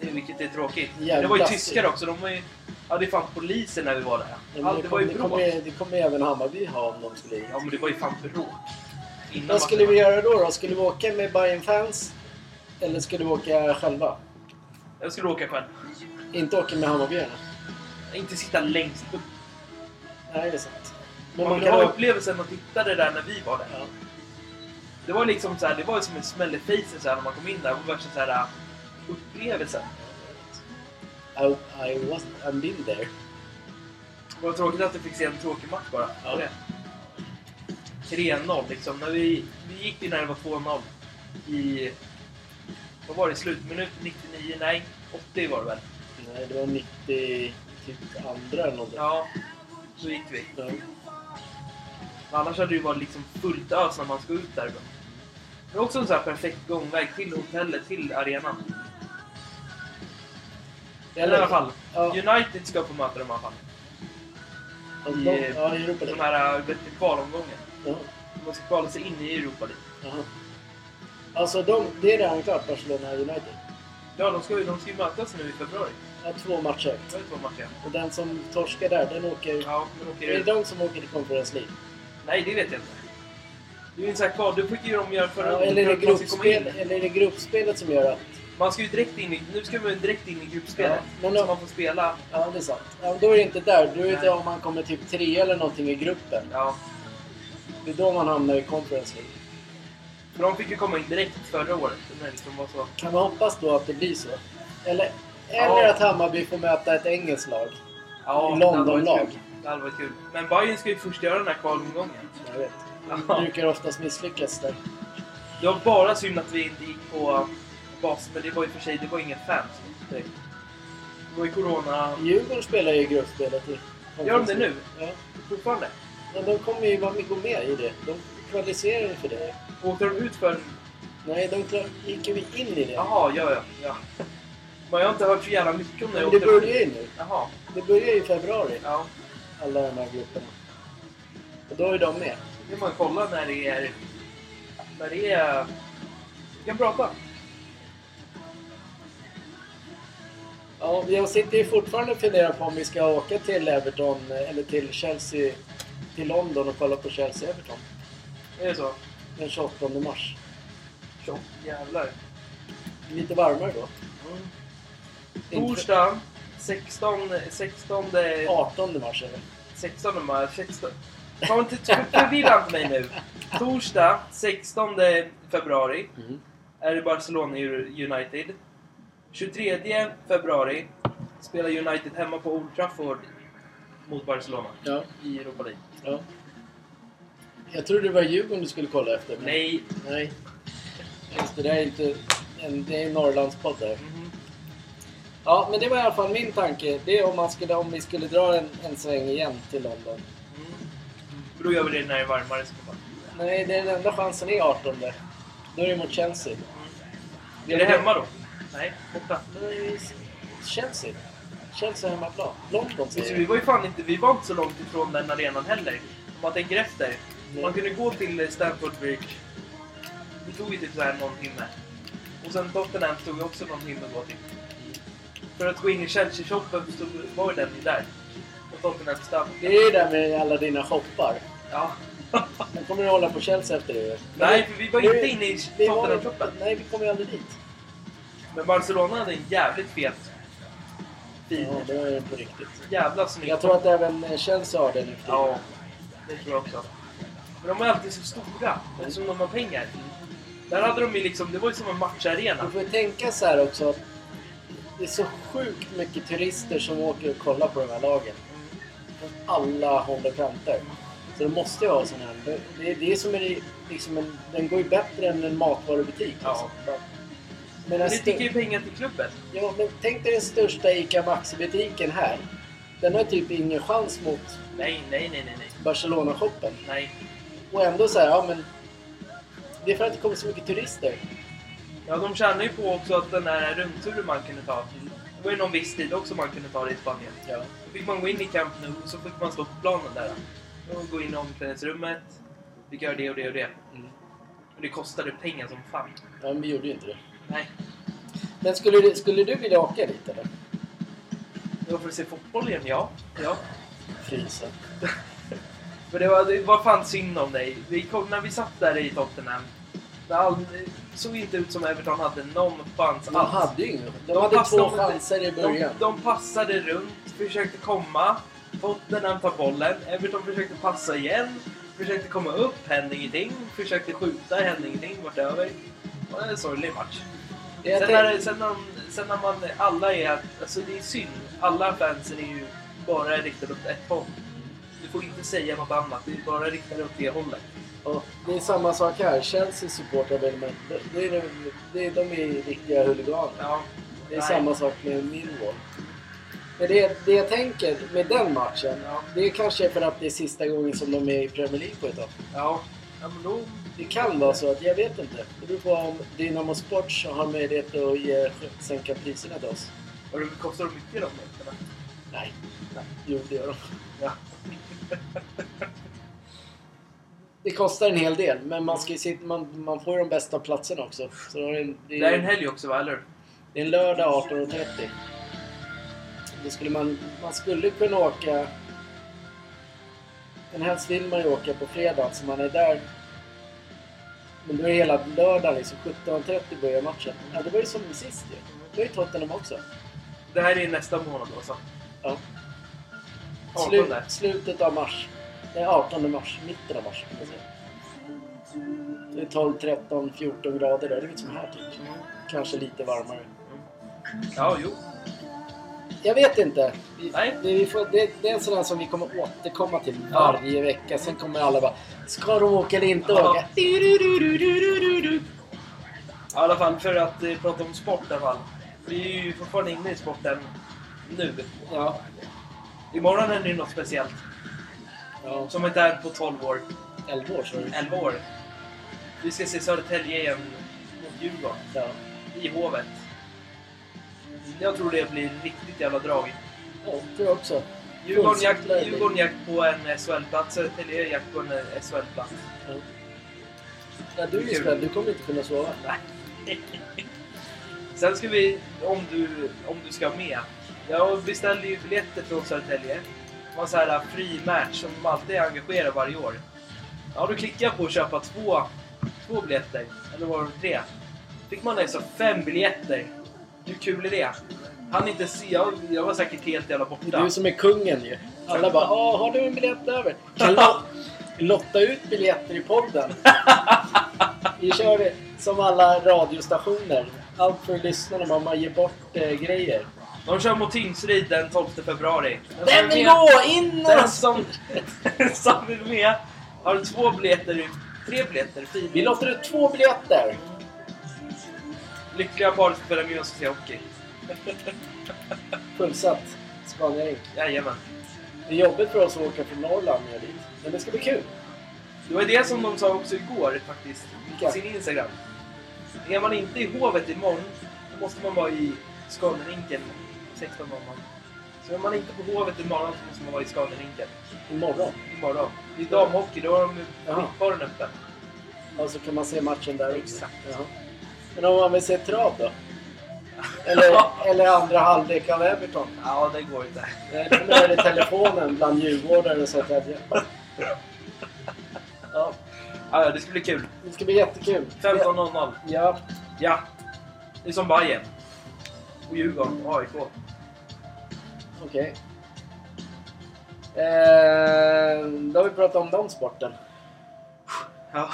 Det, vilket är tråkigt. Jävligt det var ju taskigt. tyskar också. De var ju... Ja, det fanns poliser när vi var där. Men Ja, det var ju det, kommer, bråk. det kommer även Hammarby ha om de skulle hit. Ja, men det var ju fan bråk. Innan Vad skulle matchen. vi göra då, då? Skulle vi åka med Bayern fans Eller skulle vi åka själva? Jag skulle åka själv. Inte åka med Hammarbyarna? Inte sitta längst upp. Nej, det är sant. Men Man, man vill kan ha åka... upplevelsen att titta det där när vi var där. Ja. Det var liksom så här, det var som en smäll i fejsen så här när man kom in där. Det var värsta så här äh, upplevelsen. I, I was, I've been there. Det var tråkigt att du fick se en tråkig match bara. Ja. Det. 3-0 liksom. När vi, vi gick ju när det var 2-0 i... Vad var det? Slutminut 99? Nej, 80 var det väl? Nej, det var 90... Typ andra eller någonting. Ja, så gick vi. Ja. Annars hade det ju varit liksom fullt ös när man ska ut därifrån. Det var också en så här perfekt gångväg till hotellet, till arenan. Eller i alla fall, Ja. United ska få möta dem i alla fall. Och i- de- Ja, i Europa De League. här äh, kvalomgången. Ja. De ska kvala sig in i Europa League. Jaha. Alltså, de, det är redan klart, Barcelona och United. Ja, de ska ju de ska ju mötas nu i februari. Ja, två matcher. Det var ju två matcher. Och den som torskar där, den åker... Ja, men åker Det är ut. de som åker till Conference League. Nej, det vet jag inte. Det är ju en sån här kval. Du fick ju de göra förra Ja, året eller, är för det att man ska komma in. gruppspel, eller är det gruppspelet som gör att... Man ska ju direkt in i... Nu ska man direkt in i gruppspelet. Ja, men Så då- man får spela... Ja, det är sant. Ja, då är det inte där. Då är det Nej. om man kommer typ tre eller någonting i gruppen. Ja. Det är då man hamnar i Conference League. För de fick ju komma in direkt förra året. När det liksom var så. Kan man hoppas då att det blir så? Eller, eller Ja. att Hammarby får möta ett engelskt lag? Ja, London- det hade varit lag. kul. Det hade varit kul. Men Bayern ska ju först göra den här kvalomgången. Jag vet. Ja. De brukar oftast misslyckas där. Det var bara synd att vi inte gick på bas, men det var ju för sig, det var inga fans. direkt. Det var ju corona... Djurgården spelar ju i gruppspelet i Gör de det nu? Ja. Fortfarande? Men de kommer ju vara med, gå med i det. De kvalificerade för det. Åkte de ut för... Nej, de klar, gick ju in i det. Jaha, ja, ja. ja. Men jag har inte hört så jävla mycket om det. Men Jag det åkte- börjar ju nu. Jaha, Det börjar ju i februari, ja. alla de här grupperna. Och då är de med. Det får man kolla när det är... När det är... Vi kan prata. Ja, jag sitter ju fortfarande och funderar på om vi ska åka till Everton eh, eller till Chelsea, till London och kolla på Chelsea-Everton Är det så? den 28 mars. Tjock jävlar. Lite varmare då. Mm. Inte- Torsdag 16... 16... 18 mars eller? 16 mars. 16... Kom inte förvilla inte mig nu. Torsdag 16 februari Mm. är det Barcelona United. 23 februari spelar United hemma på Old Trafford mot Barcelona Ja, i Europa League. ja. Jag trodde det var Djurgården du skulle kolla efter. men- Nej. Nej. Just det, det är inte... En, det är en Norrlandspodd där. Mhm. Ja, men det var i alla fall min tanke. Det är om, man skulle, om vi skulle dra en, en sväng igen till London. Mm. Då gör vi det när det är varmare. Så bara. Nej, det är den enda chansen är 18. Då är det mot Chelsea. Är det hemma då? Nej, borta. Nej, Chelsea. Chelsea är hemmaplan. London Så säger Alltså, vi jag. var ju fan inte, vi var inte så långt ifrån den arenan heller. Om man tänker efter. Nej. Man kunde gå till Stamford Bridge. Det tog ju typ så här någon timme. Och sen Tottenham tog ju också någon timme att gå till. För att gå in i Chelsea-shoppen så var ju den ju där. Och Tottenham Stamford. Det är ju det där med alla dina shoppar. Ja. Men kommer du hålla på Chelsea efter det? Nej, för vi var Nu- inte inne i vi var- Tottenham-shoppen. Nej, vi kommer ju aldrig dit. Men Barcelona hade en jävligt fet... Fin. Ja, det är det på riktigt. Jävla snygg. Jag tror att även Chelsea har det nu för Ja, tiden. det tror jag också. Men de är alltid så stora, eftersom de har pengar. Där hade de ju liksom, det var ju som en matcharena. Du får ju tänka så här också. att Det är så sjukt mycket turister som åker och kollar på de här lagen. Från alla håll och kanter. Så det måste ju vara sån här. Det- Det är det som är liksom en, Den går ju bättre än en matvarubutik. Ja. Liksom. Men Men den det stö- tycker ju pengar till klubben. ja, men tänk dig den största ICA Maxi-butiken här. Den har typ ingen chans mot Nej, nej, nej, nej, nej. Barcelona-shoppen. nej. Och ändå så här, ja men... Det är för att det kommer så mycket turister. Ja, de tjänar ju på också att den här rundturen man kunde ta. Det var ju någon viss tid också man kunde ta det i Spanien. Ja. Då fick man gå in i Camp Nou och så fick man stå på planen där. Och gå in i omklädningsrummet. Fick göra det och det och det. Mm. Och det kostade pengar som fan. ja, men vi gjorde ju inte det. Nej, Men skulle du, skulle du vilja åka dit eller? det var för att se fotboll igen, ja. ja. Frysen. För det var, det var fan synd om dig. Vi kom, när vi satt där i Tottenham, det all, det såg inte ut som Everton hade någon chans De alls. hade ju ingen. De, De hade passade två inte. chanser i de, början. de passade runt, försökte komma. Tottenham tar bollen. Everton försökte passa igen. Försökte komma upp, hände ingenting. Försökte skjuta, hände ingenting. Vart över. Det var en sorglig match. jag Sen tänkte- när, sen, när, de- sen när man alla är... Alltså det är synd. Alla fansen är ju bara riktade åt ett håll. Du får inte säga något annat. Det är bara riktade åt det hållet. Ja, det är samma sak här. Chelsea supportrar väl, men det, det, är- det, är- de är riktiga huliganer. Ja. Det är samma sak med Millwall. Men det, det jag tänker med den matchen, Ja. det är kanske för att det är sista gången som de är i Premier League på ett tag. Ja. ja men då... Det alltså. kan vara så att, jag vet inte. Det beror på om Dynamo Sports har möjlighet att ge, sänka priserna till oss. Och det kostar mycket de mätarna. Nej. Jo, det gör de. Ja. Det kostar en hel del, men man, ska ju sitta, man, man får ju de bästa platserna också. Så det, är en, det, Det är är, en helg också va, eller? det är en lördag 18.30. Då skulle man, man skulle kunna åka... Men helst vill man ju åka på fredag, så man är där. Men då är hela lördagen liksom 17.30 börjar matchen. Ja, det var ju som sist ju. Det var ju Tottenham också. Det här är nästa månad alltså. Ja. 18. Slut, slutet av mars. Nej, 18 mars. Mitten av mars kan man säga. Det är 12, 13, 14 grader där. Det är lite som här typ. Mm. Kanske lite varmare. Ja, jo. Jag vet inte. Vi, Nej. Det, vi får, det, det är en sån här som vi kommer återkomma till varje vecka. Sen kommer alla bara Ska de åka eller inte Ja. åka? Du-du-du-du-du-du-du-du. I alla fall för att eh, prata om sport i alla fall. Vi är ju fortfarande inne i sporten nu. Ja. Imorgon är det ju något speciellt. Ja, Som inte är på 12 år. 11 år så är det. 11 år. Vi ska se Södertälje igen mot Djurgården. Ja. I Hovet. Jag tror det blir riktigt jävla drag. Ja, tror jag också. Djurgården Fullsatt jakt, läge. Djurgården jakt på en SHL-plats. Södertälje jakt på en SHL-plats. Ja, du är ju spänd. Du kommer inte kunna sova. Sen ska vi, om du, om du ska med. Jag beställde ju biljetter från Södertälje. Det var en sån här fri match som de alltid engagerar varje år. Ja, då klickade jag på att köpa två, två biljetter. Eller var det tre? Fick man alltså fem biljetter. Hur kul är det? Han inte se, jag, jag var säkert helt jävla Det är borta. du som är kungen ju. Alla bara “Åh, har du en biljett över?” Kan lo- lotta ut biljetter i podden. Vi kör det som alla radiostationer. Allt för lyssnarna, man bara ger bort eh, grejer. De kör mot Tingsryd den 12 februari. Den som Den vill vill med, gå! In med den oss! som, som vill med har två biljetter, tre biljetter, fyra. Vi lottar ut två biljetter. Lyckliga par som följer med oss och ser hockey. Fullsatt Scaniarink. Jajamän. Det är jobbigt för oss att åka från Norrland ner dit. Men det ska bli kul. Det var det som de sa också igår faktiskt. På Vilka? sin Instagram. Är man inte i Hovet imorgon, då måste man vara i Scanarinken 16.00. Så är man inte på Hovet imorgon så måste man vara i Scanarinken Imorgon. imorgon. Det är damhockey, då har de Jaha. skitbaren öppen. Alltså kan man se matchen där också. Exakt. Jaha. Men om man vill se trav då? Eller, eller andra halvlek av Everton? Ja, det går inte. Nej, då kommer jag i telefonen bland djurgårdare och sånt där. Ja, Ja, ja, det ska bli kul. det ska bli jättekul. 15.00. Ja, Ja. Det är som Bajen. Och Djurgården och AIK. okej. Eh, då har vi pratat om den sporten. Ja.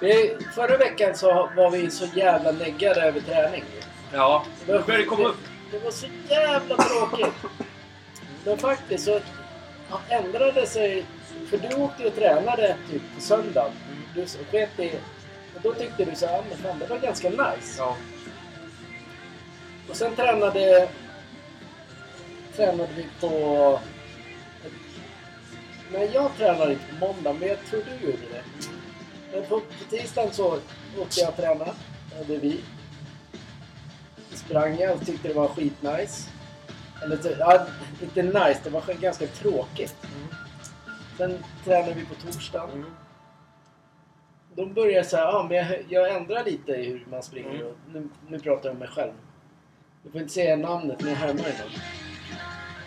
Vi, förra veckan så var vi så jävla neggade över träning. Ja. Nu börjar det komma upp. Det var så jävla tråkigt. Men faktiskt så ja, ändrade sig... För du åkte och tränade typ på söndagen. Du s- sket i... Och då tyckte du så här, "Ja, men fan det var ganska nice. Ja. Och sen tränade... Tränade vi på... Nej, jag tränade inte på måndag, men jag tror du gjorde det. Men på, på tisdagen så åkte jag och tränade. Eller vi. Sprang jag och tyckte det var skitnice. Eller ty- ja, inte nice, det var ganska tråkigt. Mm. Sen tränade vi på torsdagen. Mm. Då började jag säga, ja men jag, jag ändrar lite i hur man springer. Mm. Och nu, nu pratar jag om mig själv. Du får inte säga namnet, men jag härmar ju någon.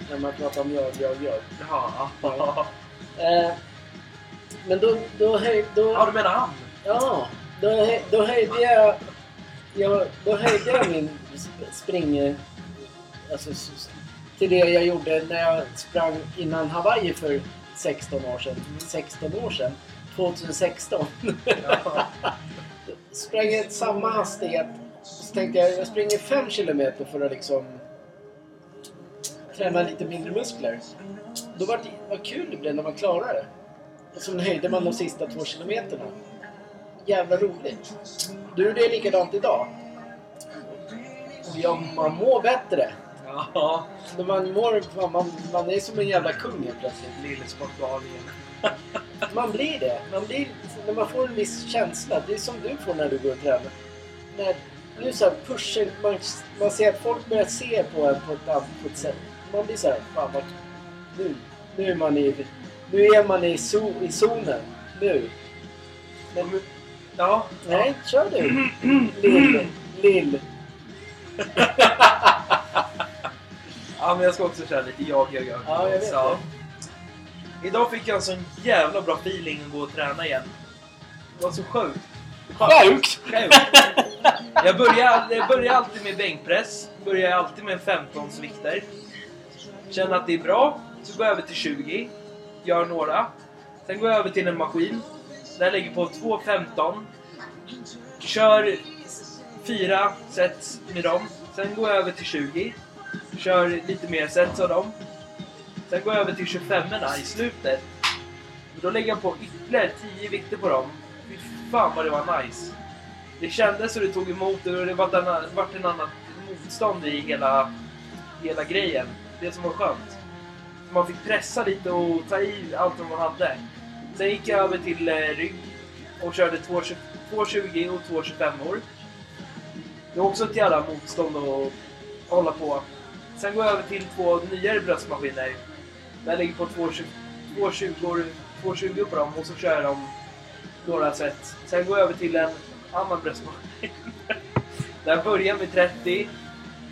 När man pratar om jag, jag, jag. Ja. Ja. Eh, men då, då, höj, Ja, då, du menar han? ja, då, höj, då höjde jag, jag, då höjde jag min sp- spring... Alltså, s- s- till det jag gjorde när jag sprang innan Hawaii för 16 år sedan. 16 år sedan? 2016. Ja. sprang i samma hastighet. Så tänkte jag, jag springer 5 kilometer för att liksom träna lite mindre muskler. Då var det, vad kul det blev när man klarade det. Och sen höjde man de sista två kilometerna. Jävla roligt. Du gjorde det likadant idag. Och Ja, man mår bättre. Ja. När man mår, fan, man, man är som en jävla kung helt plötsligt. Lillesportgalningen. Man blir det. Man blir, när man får en viss känsla. Det är som du får när du går och tränar. När, nu så här pushen, man, man ser att folk börjar se på en på ett annat på ett sätt. Man blir så här, fan vad... Nu, nu är man i, nu är man i, zo, i zonen. Nu. Men, Ja. nej, kör du. Lill. Lill. ja, men jag ska också köra lite jag, jag, jag. Ja, jag vet Så. Idag fick jag en sån jävla bra feeling att gå och träna igen. Det var så sjukt. Sjukt! Sjukt. Jag börjar, jag börjar alltid med bänkpress. Börjar alltid med 15 vikter. Känner att det är bra. Så går jag över till 20. Gör några. Sen går jag över till en maskin. Där jag lägger på 2 15. Kör fyra sets med dem. Sen går jag över till 20. Kör lite mer sets av dem. Sen går jag över till 25orna i slutet. Men Då lägger jag på ytterligare 10 vikter på dem. Fy fan vad det var nice. Det kändes och det tog emot det och det vart en, vart en annan motstånd i hela, hela grejen. Det som var skönt. man fick pressa lite och ta i allt vad man hade. Sen gick jag över till eh, rygg och körde 2,20 2,20 och 2,25 år. Det var också ett jävla motstånd att hålla på. Sen går jag över till två nyare bröstmaskiner. Där jag ligger på 2,20 2,20 2,20 på dem och så kör jag dem några set. Sen går jag över till en annan bröstmaskin. Där jag börjar med 30,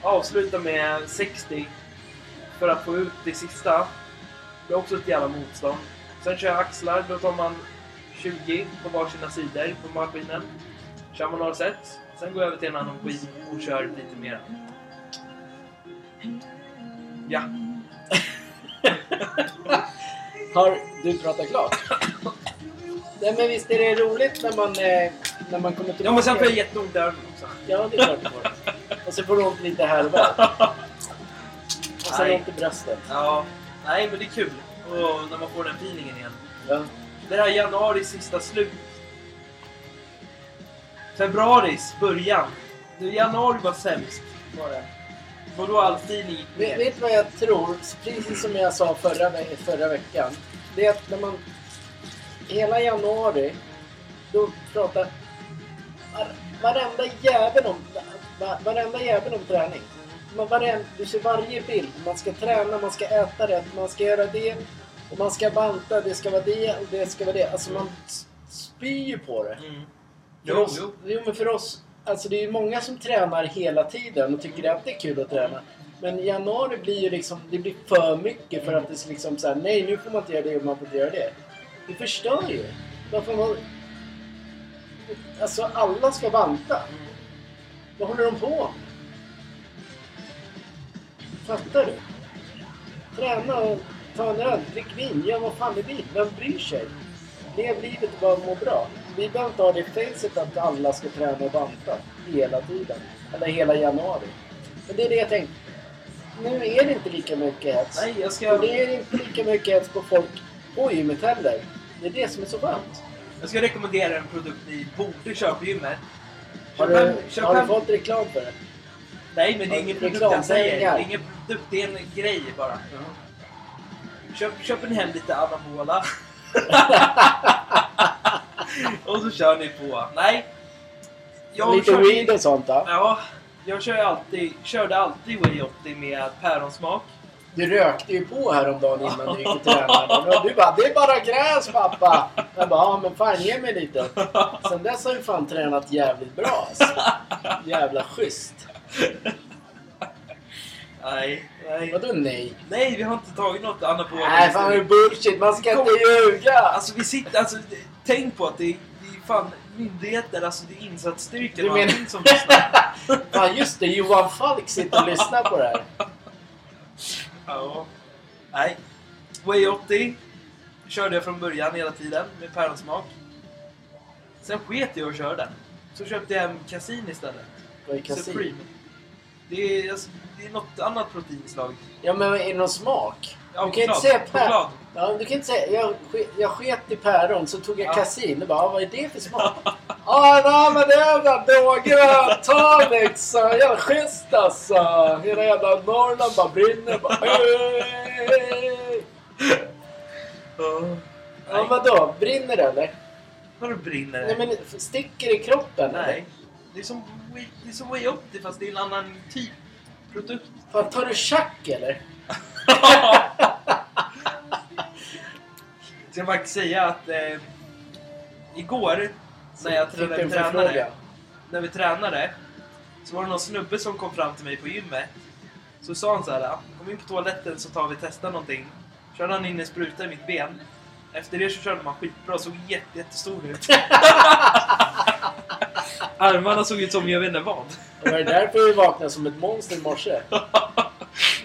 avslutar med 60 för att få ut det sista. Det är också ett jävla motstånd. Sen kör jag axlar, då tar man 20 på varsina sidor på maskinen. Kör man några set. Sen går jag över till en annan maskin och kör lite mer. Ja. Har du pratat klart? Nej men visst är det roligt när man, eh, när man kommer tillbaka? Ja, men sen får jag jätteont i öronen också. Ja, det är klart du får. Och så får du ont lite här och var. Och sen Nej. ont i bröstet. Ja. Nej, men det är kul. Och när man får den feelingen igen. Ja. Det här januaris sista slut. Februaris början. Nu, Januari var sämst. Var det. Och då all feeling gick Vet, ner. vet du vad jag tror? Precis som jag sa förra, ve- förra veckan. Det är att när man... Hela januari, då pratar var, varenda jävel om, var, varenda jävel om träning. Man, varenda, du ser varje bild. Man ska träna, man ska äta rätt, man ska göra det. Och man ska banta, det ska vara det och det ska vara det. Alltså man s- spyr ju på det. Mm. För Jo, oss, jo. jo, men för oss, alltså det är ju många som tränar hela tiden och tycker att det är kul att träna. Men i januari blir ju liksom, det blir för mycket för att det är liksom såhär, nej nu får man inte göra det och man får inte göra det. Det förstör ju. Varför man... Alltså alla ska banta. Vad håller de på med? Fattar du? Träna och ta en öl, drick vin, gör vad fan du vill. Vem bryr sig? Lev livet och bara må bra. Vi behöver inte ha det facet att alla ska träna och banta hela tiden. Eller hela januari. Men det är det jag tänkte. Nu är det inte lika mycket hets. Nej, jag ska, Och det är inte lika mycket hets på folk på gymmet heller. Det är det som är så skönt. jag ska rekommendera en produkt ni borde köpa på gymmet. Har Köp du, hem- köp har du hem- fått reklam för det? Nej, men det är Har ingen du produkt reklam? jag säger. Det Pengar? är ingen produkt, det är en grej bara. Köp, köper ni hem lite anabola. och så kör ni på. Nej. Lite kör- weed och sånt då? Ja, jag kör ju alltid, körde alltid Way 80 med päronsmak. Du rökte ju på häromdagen innan du gick och tränade. Och du bara, det är bara gräs pappa! Jag bara, ja men fan ge mig lite. Sen dess har du fan tränat jävligt bra alltså. Jävla schysst. Nej, nej. Vadå nej? Nej, vi har inte tagit något anabola. Nej fan det är bullshit, man ska inte ljuga! Alltså vi sitter, alltså det- tänk på att det, det är fan myndigheter, alltså det är insatsstyrkan Du och menar- allting som lyssnar. Fan just det, Johan Falk sitter och lyssnar på det här. Ja. Nej. Way 80 körde jag från början hela tiden med päronsmak. Sen sket jag och körde. Så köpte jag en kasin istället. Vad är kasin? Supreme. Det är, alltså, det är något annat proteinslag. Ja men är det någon smak? Ja, Du kan inte choklad. säga päron. Choklad. Ja, du kan inte säga, jag, ske- jag sket i päron så tog jag Ja. kasin. Du bara, "Ah, vad är det för smak? Ja, nej men det är jävla dågrön tonic. Jävla schysst alltså. Hela jävla Norrland bara brinner. Bara, "Hej!" Ja. ja, Nej, vadå? Brinner det eller? Vadå brinner Nej det? men sticker i kroppen? eller? Nej. Det är som Way- det är som Way 80 fast det är en annan typ produkt. Fan, tar du tjack eller? Jag ska faktiskt säga att eh, igår när jag Fick när du en vi förfrågan? tränade, när vi tränade så var det någon snubbe som kom fram till mig på gymmet. Så sa han så här, "Ah, kom in på toaletten så tar vi och testar någonting. Körde han in en spruta i mitt ben. Efter det så körde man skitbra, såg jätte, jättestor ut. Armarna såg ut som jag vet inte vad. Det var det därför du vaknade som ett monster i morse?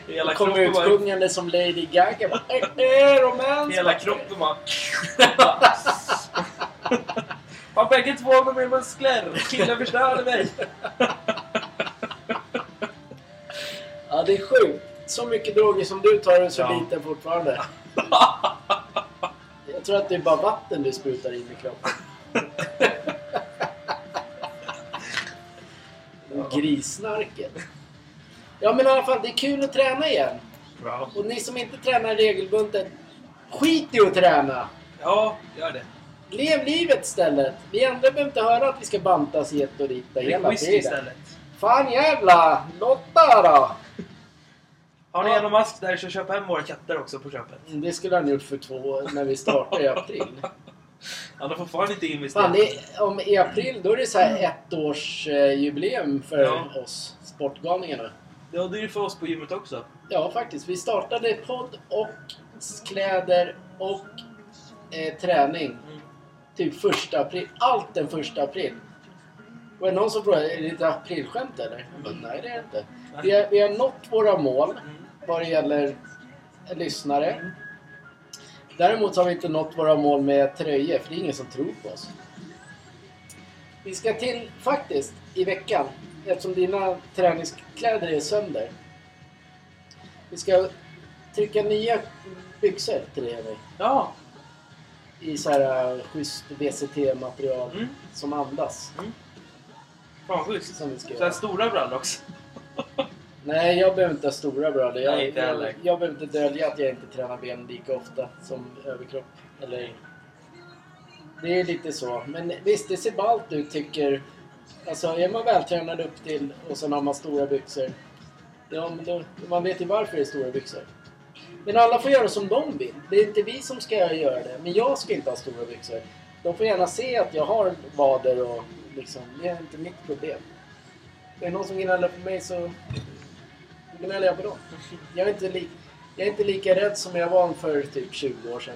Hela Kom kroppen, var, utsjungande som Lady Gaga. Bara, "Eh, eh, romance." hela kroppen var... Har bägge två av dem är muskler! Killen förstörde mig! Ja, det är sjukt. Så mycket droger som du tar och så Ja. lite fortfarande. Jag tror att det är bara vatten du sprutar in i kroppen. Grisnarket. Ja men i alla fall, det är kul att träna igen. Wow. Och ni som inte tränar regelbundet, skit i att träna! Ja, gör det. Lev livet istället! Vi andra behöver inte höra att vi ska bantas hit och dit hela Drick whisky tiden. istället. Fan jävla Lotta då! Har ni Ja. Elon Musk där så köp hem våra katter också på köpet. Mm, Det skulle han gjort för två år när vi startade i april. Han har fortfarande inte investerat. Fan, det är, om i april då är det så här ett års eh, jubileum för Ja. oss sportgalningarna. Ja, det är ju för oss på gymmet också. Ja, faktiskt. Vi startade podd och kläder och eh, träning. Mm. Typ första april. Allt den första april. Var det någon som frågade, är det ett aprilskämt eller? Jag bara, Nej, det är det inte. Vi har, vi har nått våra mål Mm. vad det gäller lyssnare. Däremot har vi inte nått våra mål med tröjor, för det är ingen som tror på oss. Vi ska till, faktiskt, i veckan, eftersom dina träningskläder är sönder. Vi ska trycka nya byxor till dig, Henrik. Ja. I så här uh, schysst VCT-material Mm. som andas. Fan schysst. Som vi ska Så här göra. stora brallor också. Nej, jag behöver inte ha stora brallor. Jag, Nej, inte heller. jag, jag behöver inte dölja att jag inte tränar ben lika ofta som överkropp. Eller... Det är lite så. Men visst, det ser ballt ut tycker... Alltså, är man vältränad upp till och sen har man stora byxor. Ja, men då, man vet ju varför det är stora byxor. Men alla får göra som de vill. Det är inte vi som ska göra det. Men jag ska inte ha stora byxor. De får gärna se att jag har vader och liksom... Det är inte mitt problem. Är det någon som gnäller på mig så då gnäller jag på dem. Jag är, inte li- jag är inte lika rädd som jag var för typ 20 år sedan.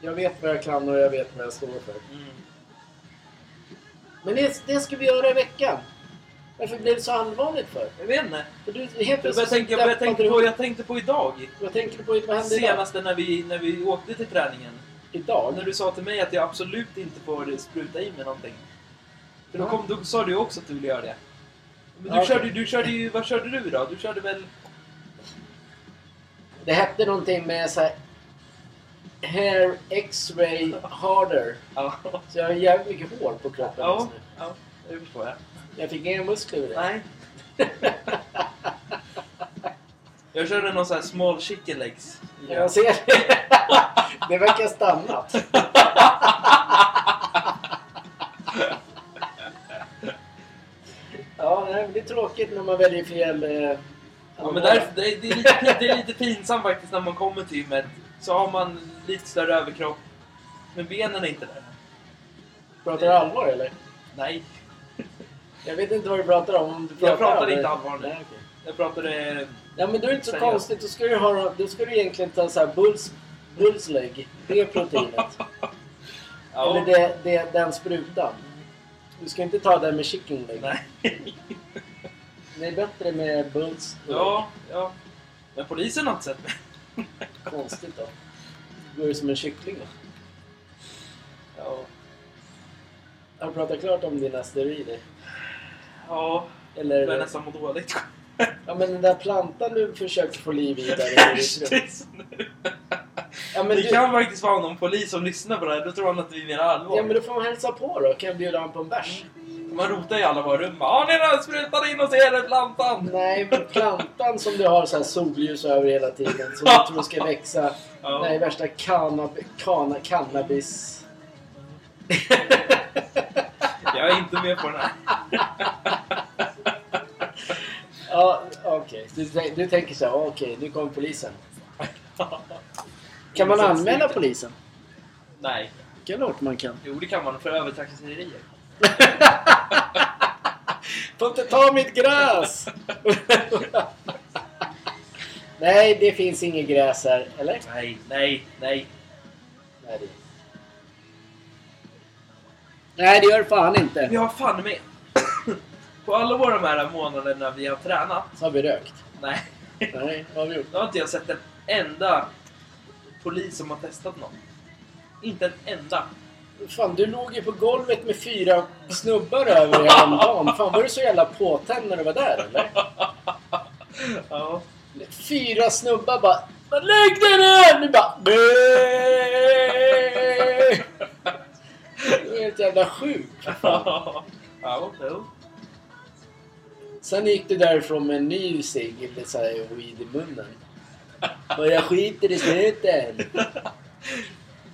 Jag vet vad jag kan och jag vet vad jag står för. Mm. Men det, det ska vi göra i veckan. Varför blev det så allvarligt för? Jag vet inte. För du helt Jag, började plötsligt tänka, jag, började tänka tappade på, du- jag tänkte på idag. Vad tänker du på? Vad hände idag? Senaste när vi, när vi åkte till träningen. När Idag? du sa till mig att jag absolut inte får spruta i mig någonting. För då, Ja. kom, då sa du också att du ville göra det. Men du, Ja, okej. körde, du körde ju... Vad körde du idag? Du körde väl... Det hette någonting med så här, Hair X-ray harder. Ja, Så jag har jävligt mycket hår på kroppen ja, just nu. ja det förstår jag. Jag fick inga muskler ur det. Nej. jag körde någon sån här small chicken legs. Jag ser det. Det verkar stannat. Ja, nej, men det är tråkigt när man väljer fel... Eh, Ja, men därför, det, är- det, är lite, pin- det är lite pinsamt faktiskt när man kommer till gymmet. Så har man lite större överkropp. Men benen är inte där. Pratar du allvar eller? Nej. Jag vet inte vad du pratar om. om du Jag pratar allvar. inte allvar nu. Nej, okej. Jag pratade... Ja, men då är det inte så Seriöst. konstigt. Då ska du, ha, då ska du egentligen ta så här bulls, bullsleg. Det är proteinet. Ja, Eller det, det, den sprutan. Du ska inte ta den med chicken leg. Nej. Det är bättre med bulls. Ja, ja. Men polisen har inte sett mig. Konstigt då. Går ju som en kyckling då. Ja. Har du pratat klart om dina steroider? Ja, jag börjar Eller? nästan må dåligt. Ja men den där plantan du försökte få liv i där i ditt rum. Precis nu. Ja men Det du... kan faktiskt vara någon polis som lyssnar på det här. Då tror han att vi menar allvar. Ja men då får man hälsa på då. Kan jag bjuda honom på en bärs? Man rotar i alla våra rum. Har ni den? Spruta in och se den plantan! Nej men plantan som du har så här solljus över hela tiden. Som du tror ska växa. Ja. Nej värsta cannab- kana- cannabis... Jag är inte med på den här. Ja okej. Du, tän- du tänker så här. Okej nu kommer polisen. Kan man anmäla polisen? Nej. Det är klart man kan. Jo, det kan man. För övertrakasserier. Får inte ta mitt gräs! Nej, det finns inget gräs här. Eller? Nej, nej, nej. Nej, det, Nej, det gör det fan inte. Vi har fan med. På alla våra de här månaderna vi har tränat. Så har vi rökt. Nej. Nej, vad har vi gjort? Då har inte jag sett en enda polis som har testat någon. Inte en enda. Fan, du låg ju på golvet med fyra snubbar över dig häromdagen. Fan, var du så jävla påtänd när du var där, eller? Ja. Fyra snubbar bara... "Men Lägg dig ner! Du bara... "Bäh!" Du är helt jävla sjuk. ja, jo. Sen gick du därifrån med en ny cigg, lite såhär weed i munnen. Och jag skiter i snuten.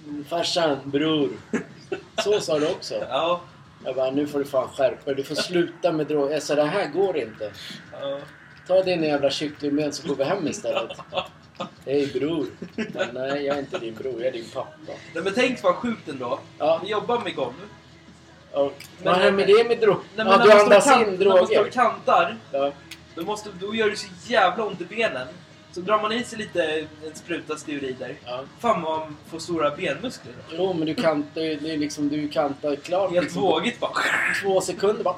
Mm, Farsan, bror. Så sa du också. Ja. Jag bara, nu får du fan skärpa dig. Du får sluta med droger. Jag sa, det här går inte. ja. Ta din jävla kycklingben så går vi hem istället. Hej bror. Men, nej, jag är inte din bror. Jag är din pappa. Nej, men tänk vad sjukt ändå. Ja, Vi jobbar med golv. och, vad har med det med droger? Nej, men Ja, när, du man står andas kant, in när man står droger. kantar, Ja, då, måste, då gör det så jävla ont i benen. Så drar man i sig lite en spruta steroider. ja. Fan vad man får stora benmuskler. då. Jo, men du kantar ju det är liksom, du kantar klart. Helt liksom, vågigt bara. Två sekunder bara...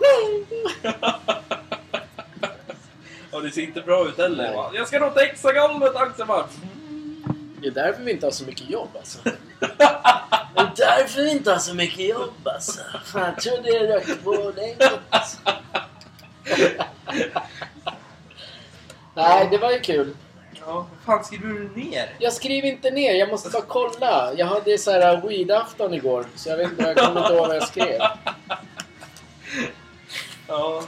Och det ser inte bra ut heller. Nej. va? Jag ska nå texagolvet Axelman! Det är därför vi inte har så mycket jobb alltså. Det är därför vi inte har så mycket jobb alltså. Fan, jag trodde jag rökte på dig. alltså. Nej, det var ju kul. Ja, vad fan skriver du ner? Jag skriver inte ner, jag måste bara kolla. Jag hade så här weed-afton igår, så jag vet inte, jag kommer inte ihåg vad jag skrev. Ja,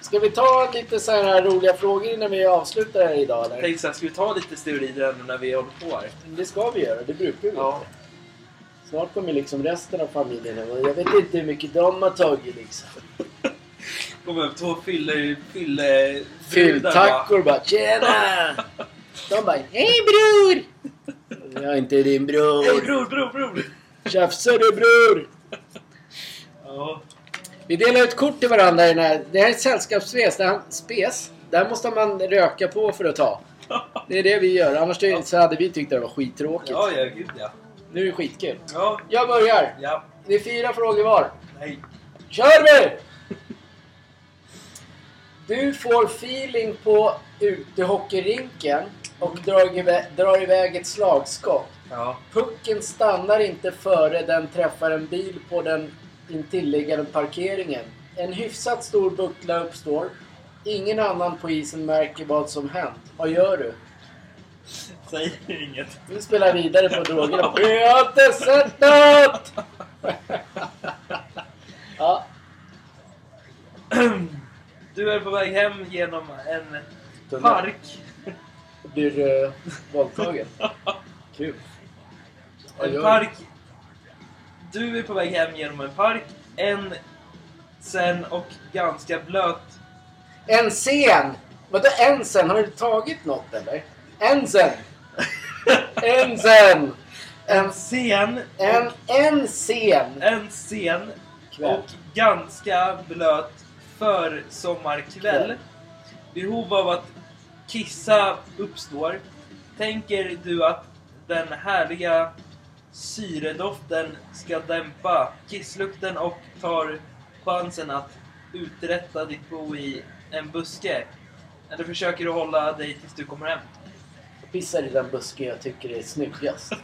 Ska vi ta lite så här roliga frågor innan vi avslutar här idag jag eller? tänkte såhär, ska vi ta lite steroider ändå när vi håller på här? Det ska vi göra, det brukar vi Ja. Snart kommer liksom resten av familjen och jag vet inte hur mycket de har tagit liksom. Kom upp två fylle... fylle Fylltackor bara tjena! De bara hej bror! Jag är inte din Hej bror. bror, bror, bror! Tjafsar du bror? Ja. Vi delar ut kort till varandra i den här. Det här är ett sällskapsspes. Där, han- spes. där måste man röka på för att ta. Det är det vi gör. Annars det- så hade vi tyckt att det var skittråkigt. Ja, ja, gud ja. Nu är det skitkul. Ja, Jag börjar. ja. Det är fyra frågor var. Nej. Kör vi! Du får feeling på utehockeyrinken och drar iväg, drar iväg ett slagskott. Ja. Pucken stannar inte före den träffar en bil på den intilliggande parkeringen. En hyfsat stor buckla uppstår. Ingen annan på isen märker vad som hänt. Vad gör du? Säg inget. Du spelar vidare på drogerna. Jag har inte sett något! Ja, Du är på väg hem genom en tunnel. park. blir uh, våldtagen. Kul. Vad gör En du? park. Du är på väg hem genom en park. En sen och ganska blöt... En scen! Vadå en sen? Har du tagit något eller? En sen! En sen! En, En sen... en, en scen! En sen Kväll. och ganska blöt försommarkväll. Kväll. Behov av att kissa uppstår. Tänker du att den härliga syredoften ska dämpa kisslukten och tar chansen att uträtta ditt bo i en buske? Eller försöker du hålla dig tills du kommer hem? Jag pissar i den busken jag tycker är snyggast. Fan,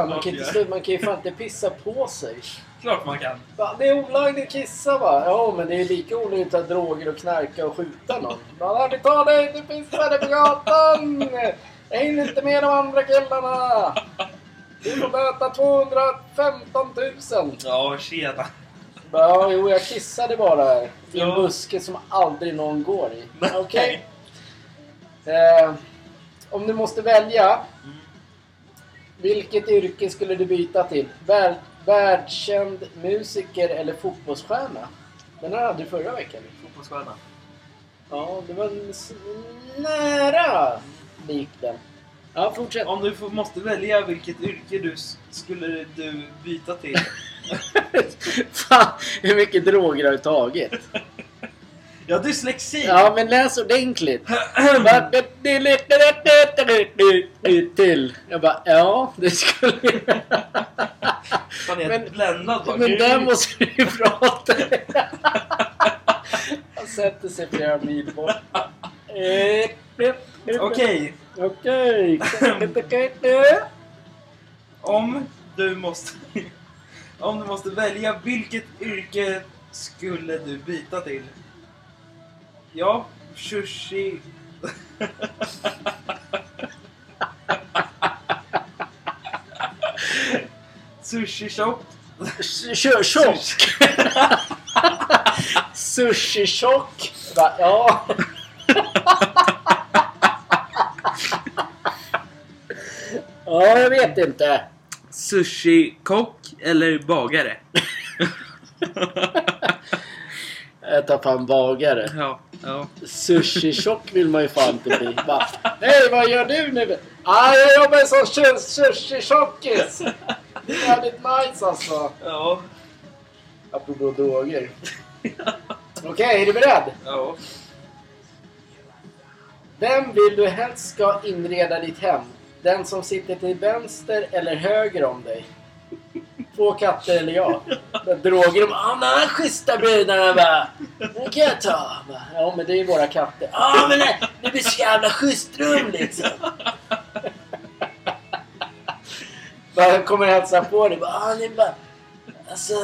man Varför kan, inte, gör? slu- man kan ju fan inte pissa på sig. Klart man kan! Va, Det är olagligt att kissa va? Ja, men det är lika olagligt att ta droger och knarka och skjuta någon. Man aldrig ta dig, du pissade på gatan! Jag hinner inte med de andra killarna! Du får böta 215 000! Ja, tjena! Ja, jo, jag kissade bara i en Ja. buske som aldrig någon går i. Nej. Okej? Eh, om du måste välja, Mm. vilket yrke skulle du byta till? Vär, världskänd musiker eller fotbollsstjärna? Den här hade du förra veckan. Fotbollsstjärna. Ja, det var en s- nära lik den. Ja, fortsätt. Om du får, måste välja vilket yrke du s- skulle du byta till? Fan, hur mycket droger har du tagit? Ja, dyslexi! Ja, men läs ordentligt. Till. Jag bara, ja, det skulle jag. Fan, jag är men- bländad bara. Men där Gud. måste du ju prata. Han sätter sig flera mil bort. Eh, Okej, Okej. om du måste... Om du måste välja vilket yrke skulle du byta till? Ja, sushi... Sushi-shop. Kör tjock. Sushi-tjock. Jag bara, Ja. Ja, jag vet inte. Sushi-kock eller bagare? Jag tar fan bagare. ja, ja. Sushi-tjock vill man ju fan inte bli. Bara, Nej, vad gör du nu? Ah, jag jobbar som tjo- sushi-tjockis! Det är jävligt nice alltså. Ja, Apropå droger. Okej, är du beredd? ja. Vem vill du helst ska inreda ditt hem? Den som sitter till vänster eller höger om dig? Två katter eller jag? Där Droger de ah, men han schyssta brudarna va? Den kan jag ta va? Ja men det är ju våra katter. ah, men nej, det blir så jävla schysst rum liksom. Bara, Han kommer hälsa på dig. Bara, ah, ni bara, alltså,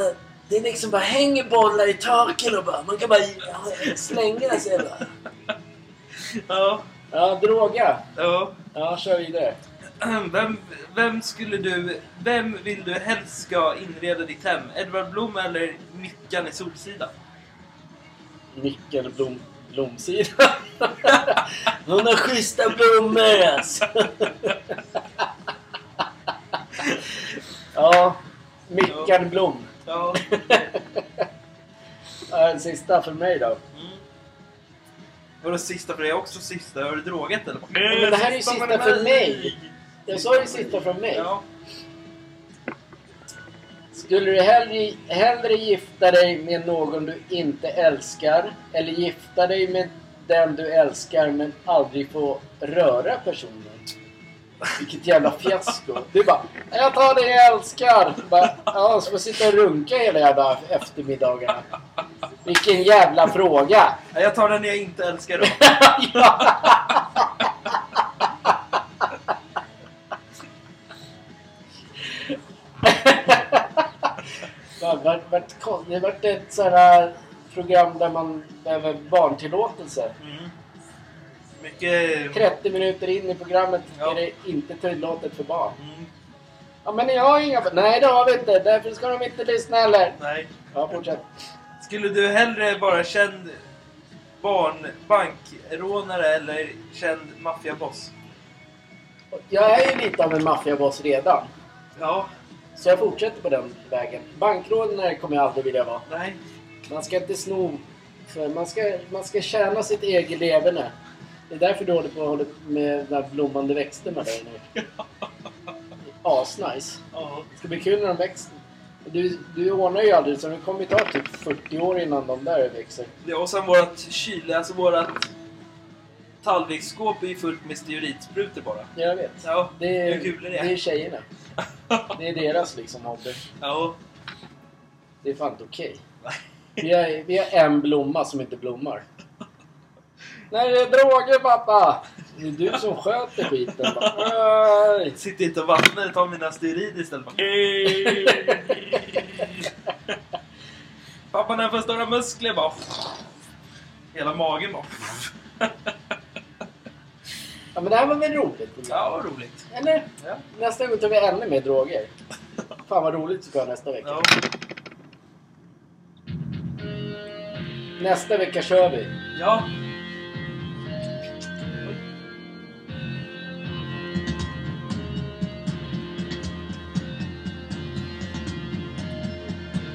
det är liksom bara hänger bollar i taken och bara man kan bara ja, slänga sig bara. ja, Ja, droga. ja. Ja, kör vidare. Vem, vem skulle du... Vem vill du helst ska inreda ditt hem? Edvard Blom eller Mickan i Solsidan? Nyckeln blom, blomsida. Hon har schyssta blommor alltså. Ja, Mickan Blom. Ja. Ja, Den sista för mig då. Mm. Var det sista för dig också sista? Har du drogat eller? vad? men det här är ju sista men- för mig. Jag sa ju sista från mig. Ja. Skulle du hellre, hellre gifta dig med någon du inte älskar eller gifta dig med den du älskar men aldrig få röra personen? Vilket jävla fiasko. Du bara ”Jag tar det jag älskar”. Bara, ja, så får jag sitta och runka hela jävla eftermiddagarna. Vilken jävla fråga! Nej, Jag tar den jag inte älskar då. ja. Fan, vart- vart kon- Det vart ett sånt här program där man behöver barntillåtelse. Mm. Mycket... 30 minuter in i programmet Ja. är det inte tillåtet för barn. Mm. Ja, men jag har inga... Nej, det har vi inte. Därför ska de inte lyssna heller. Nej. Ja, fortsätt. Skulle du hellre vara känd barnbankrånare eller känd maffiaboss? Jag är ju lite av en maffiaboss redan. Ja. Så jag fortsätter på den vägen. Bankrånare kommer jag aldrig vilja vara. Nej. Man ska inte sno. För man, ska, man ska tjäna sitt eget leverne. Det är därför du håller på håller med de där blommande växterna där nu. Asnice. Ja. Det ska bli kul när de växer. Du, du ordnar ju aldrig så det kommer ju ta typ 40 år innan de där växer. Ja, och sen vårat kyl, alltså vårat tallriksskåp är ju fullt med stearinsprutor bara. Jag vet. Ja, Det är, hur kul är det det? är tjejerna. Det är deras liksom hobby. Ja, Det är fan inte okej. Vi, har, vi har en blomma som inte blommar. Nej, det är droger pappa! Det är du som sköter skiten. Bara, "Nej." sitter inte och vattnar och tar mina stearin istället. Bara. Pappa, när jag får stora muskler bara... Hela magen bara... Ja, men det här var väl roligt? Ja, vad roligt. Eller? Ja. Nästa gång tar vi ännu mer droger. Fan vad roligt det ska vara nästa vecka. Ja. Nästa vecka kör vi. ja.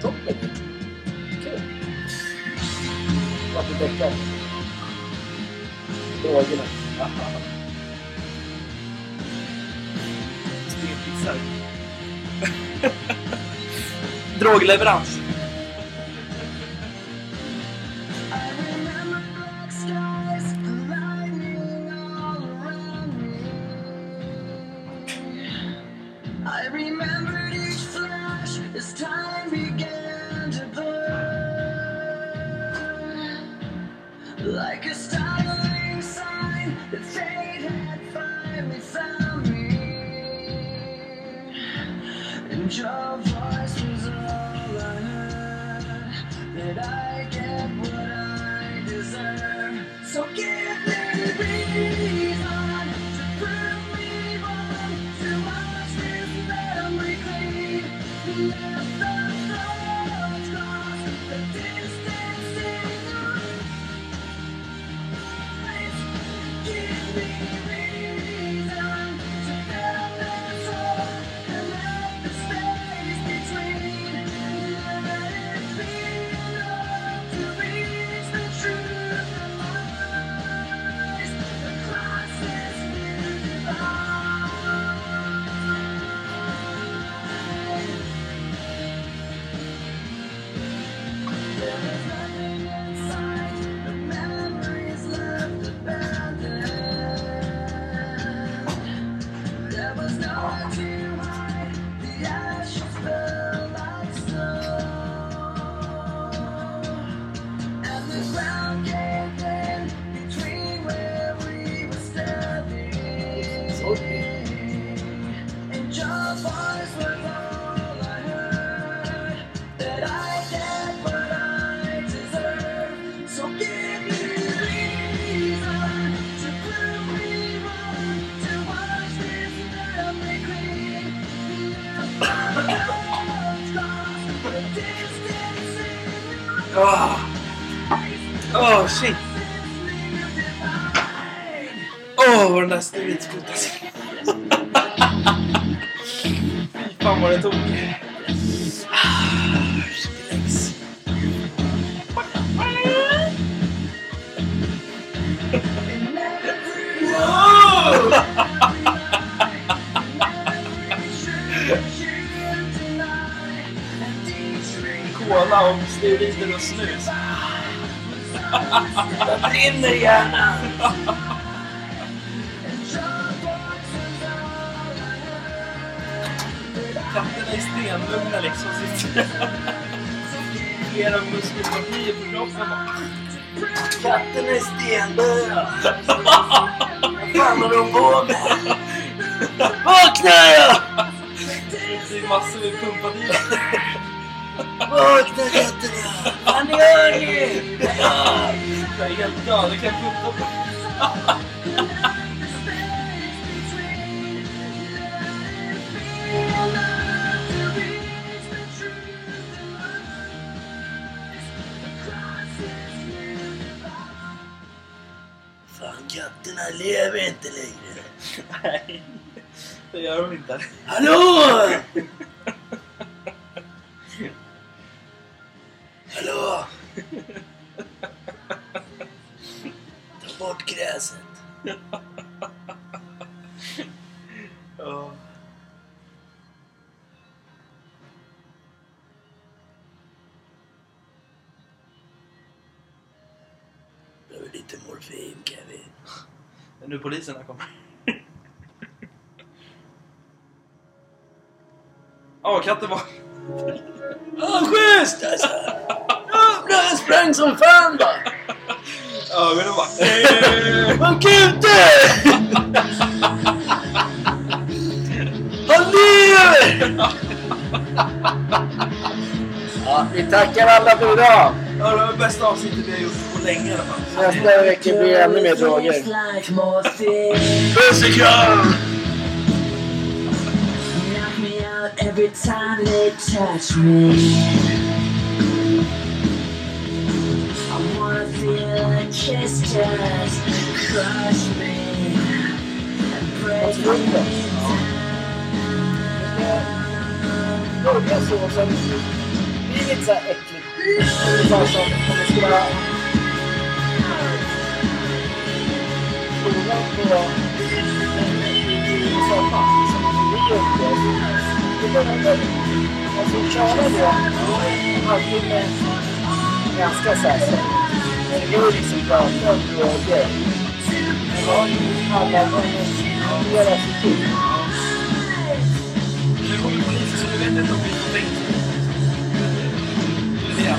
Toppen! Kul! Vart är däckaren? Drogerna. Stenpizza. Drogleverans. I remember black skies, lightning all around me. I remembered each flash as time began to burn. Like a startling sign that fate had finally found me. And your voice was all I heard. That I get what I deserve. So give me reason to prove me wrong. To watch this memory clean. Let the thoughts cross the distance in the Give me reason to feel this Åh, Åh, Ah. Oh, shit! Åh, vad den där snurren skuttade sig. Fy fan vad det tog. Ah, shit, legs. Cola och steroider och snus. Jag brinner i hjärnan! Katterna är stenlugna liksom. Sitter flera muskelpartier på kroppen bara. Katten är stendöd! Vad fan har de på med? Vakna! Det är massor med pumpat i. Vakna katterna! Vad gör ni? Jag är helt död. Jag kan pumpa på. Fan katterna lever inte längre. Nej, det gör de inte. Hallå! Hallå! Ta bort gräset. Ja. Behöver lite morfin Kevin. Det är nu poliserna kommer. Ja, katten var... Ah, schysst alltså! Jävlar, jag sprang som fan va! Ögonen bara... Han kutar! Han lever! Ja, vi tackar alla för idag. Ja, det var det bästa avsnittet vi har gjort på länge i alla fall. Nästa vecka blir det ännu mer droger. Like morphine. Puss och kram! Knock me out every time they touch me. I wanna feel the kiss just crush me and break me down. Några såser. Det är lite så här äckligt. Ungefär som om det skulle vara... Skolan på... I sommar. Som vi upplevde. Det var väldigt... Alltså köra då en halvtimme ganska så här så. Men det går liksom prata om droger. Det var ju alla människor. Deras tid. Nu kommer polisen så du vet inte om vi får tänka. Det är det.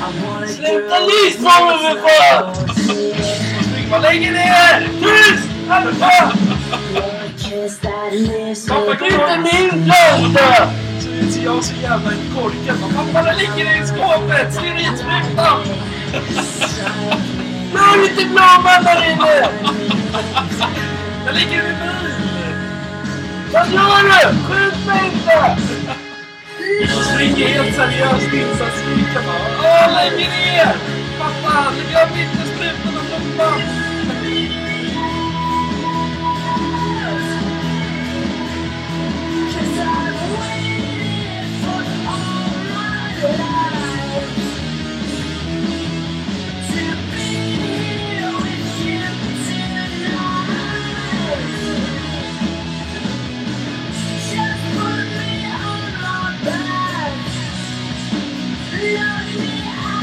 I wanna Sluta do lyssna på mig, fan! things I Snyggt, man lägger ner! Tyst! Alfa! Your kiss that lifts me Pappa, back. klipp inte min låda! Så så jag är så jävla korkad. Bara, Pappa, den ligger i skåpet! Stearinsprutan! Rör inte blomman där inne! Den ligger i min bil! Vad gör du? Skjut mig inte! Jag springer helt seriöst in så att skriker bara. Åh, lägg ner! Pappa, lägg av inte sprutan och blomman! Cause I've waited for all my life to be here with you tonight. Just put me on my back, love me out again.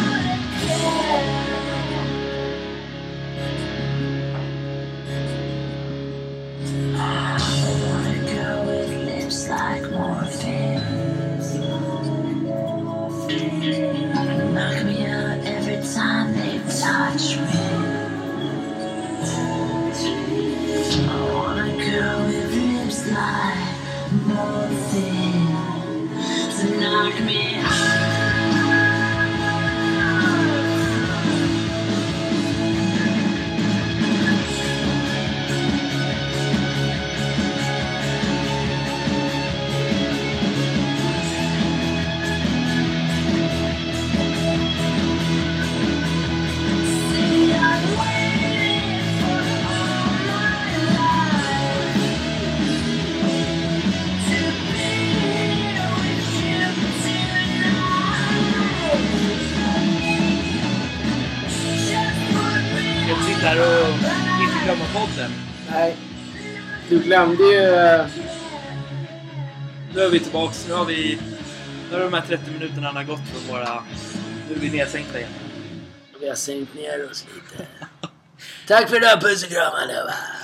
här och inte glömma podden. Nej. Du glömde ju... eh, Nu är vi tillbaks. Nu har vi... Nu har de här 30 minuterna har gått från våra... Nu är vi nedsänkta igen. Vi har sänkt ner oss lite. Tack för idag, puss och kram allihopa!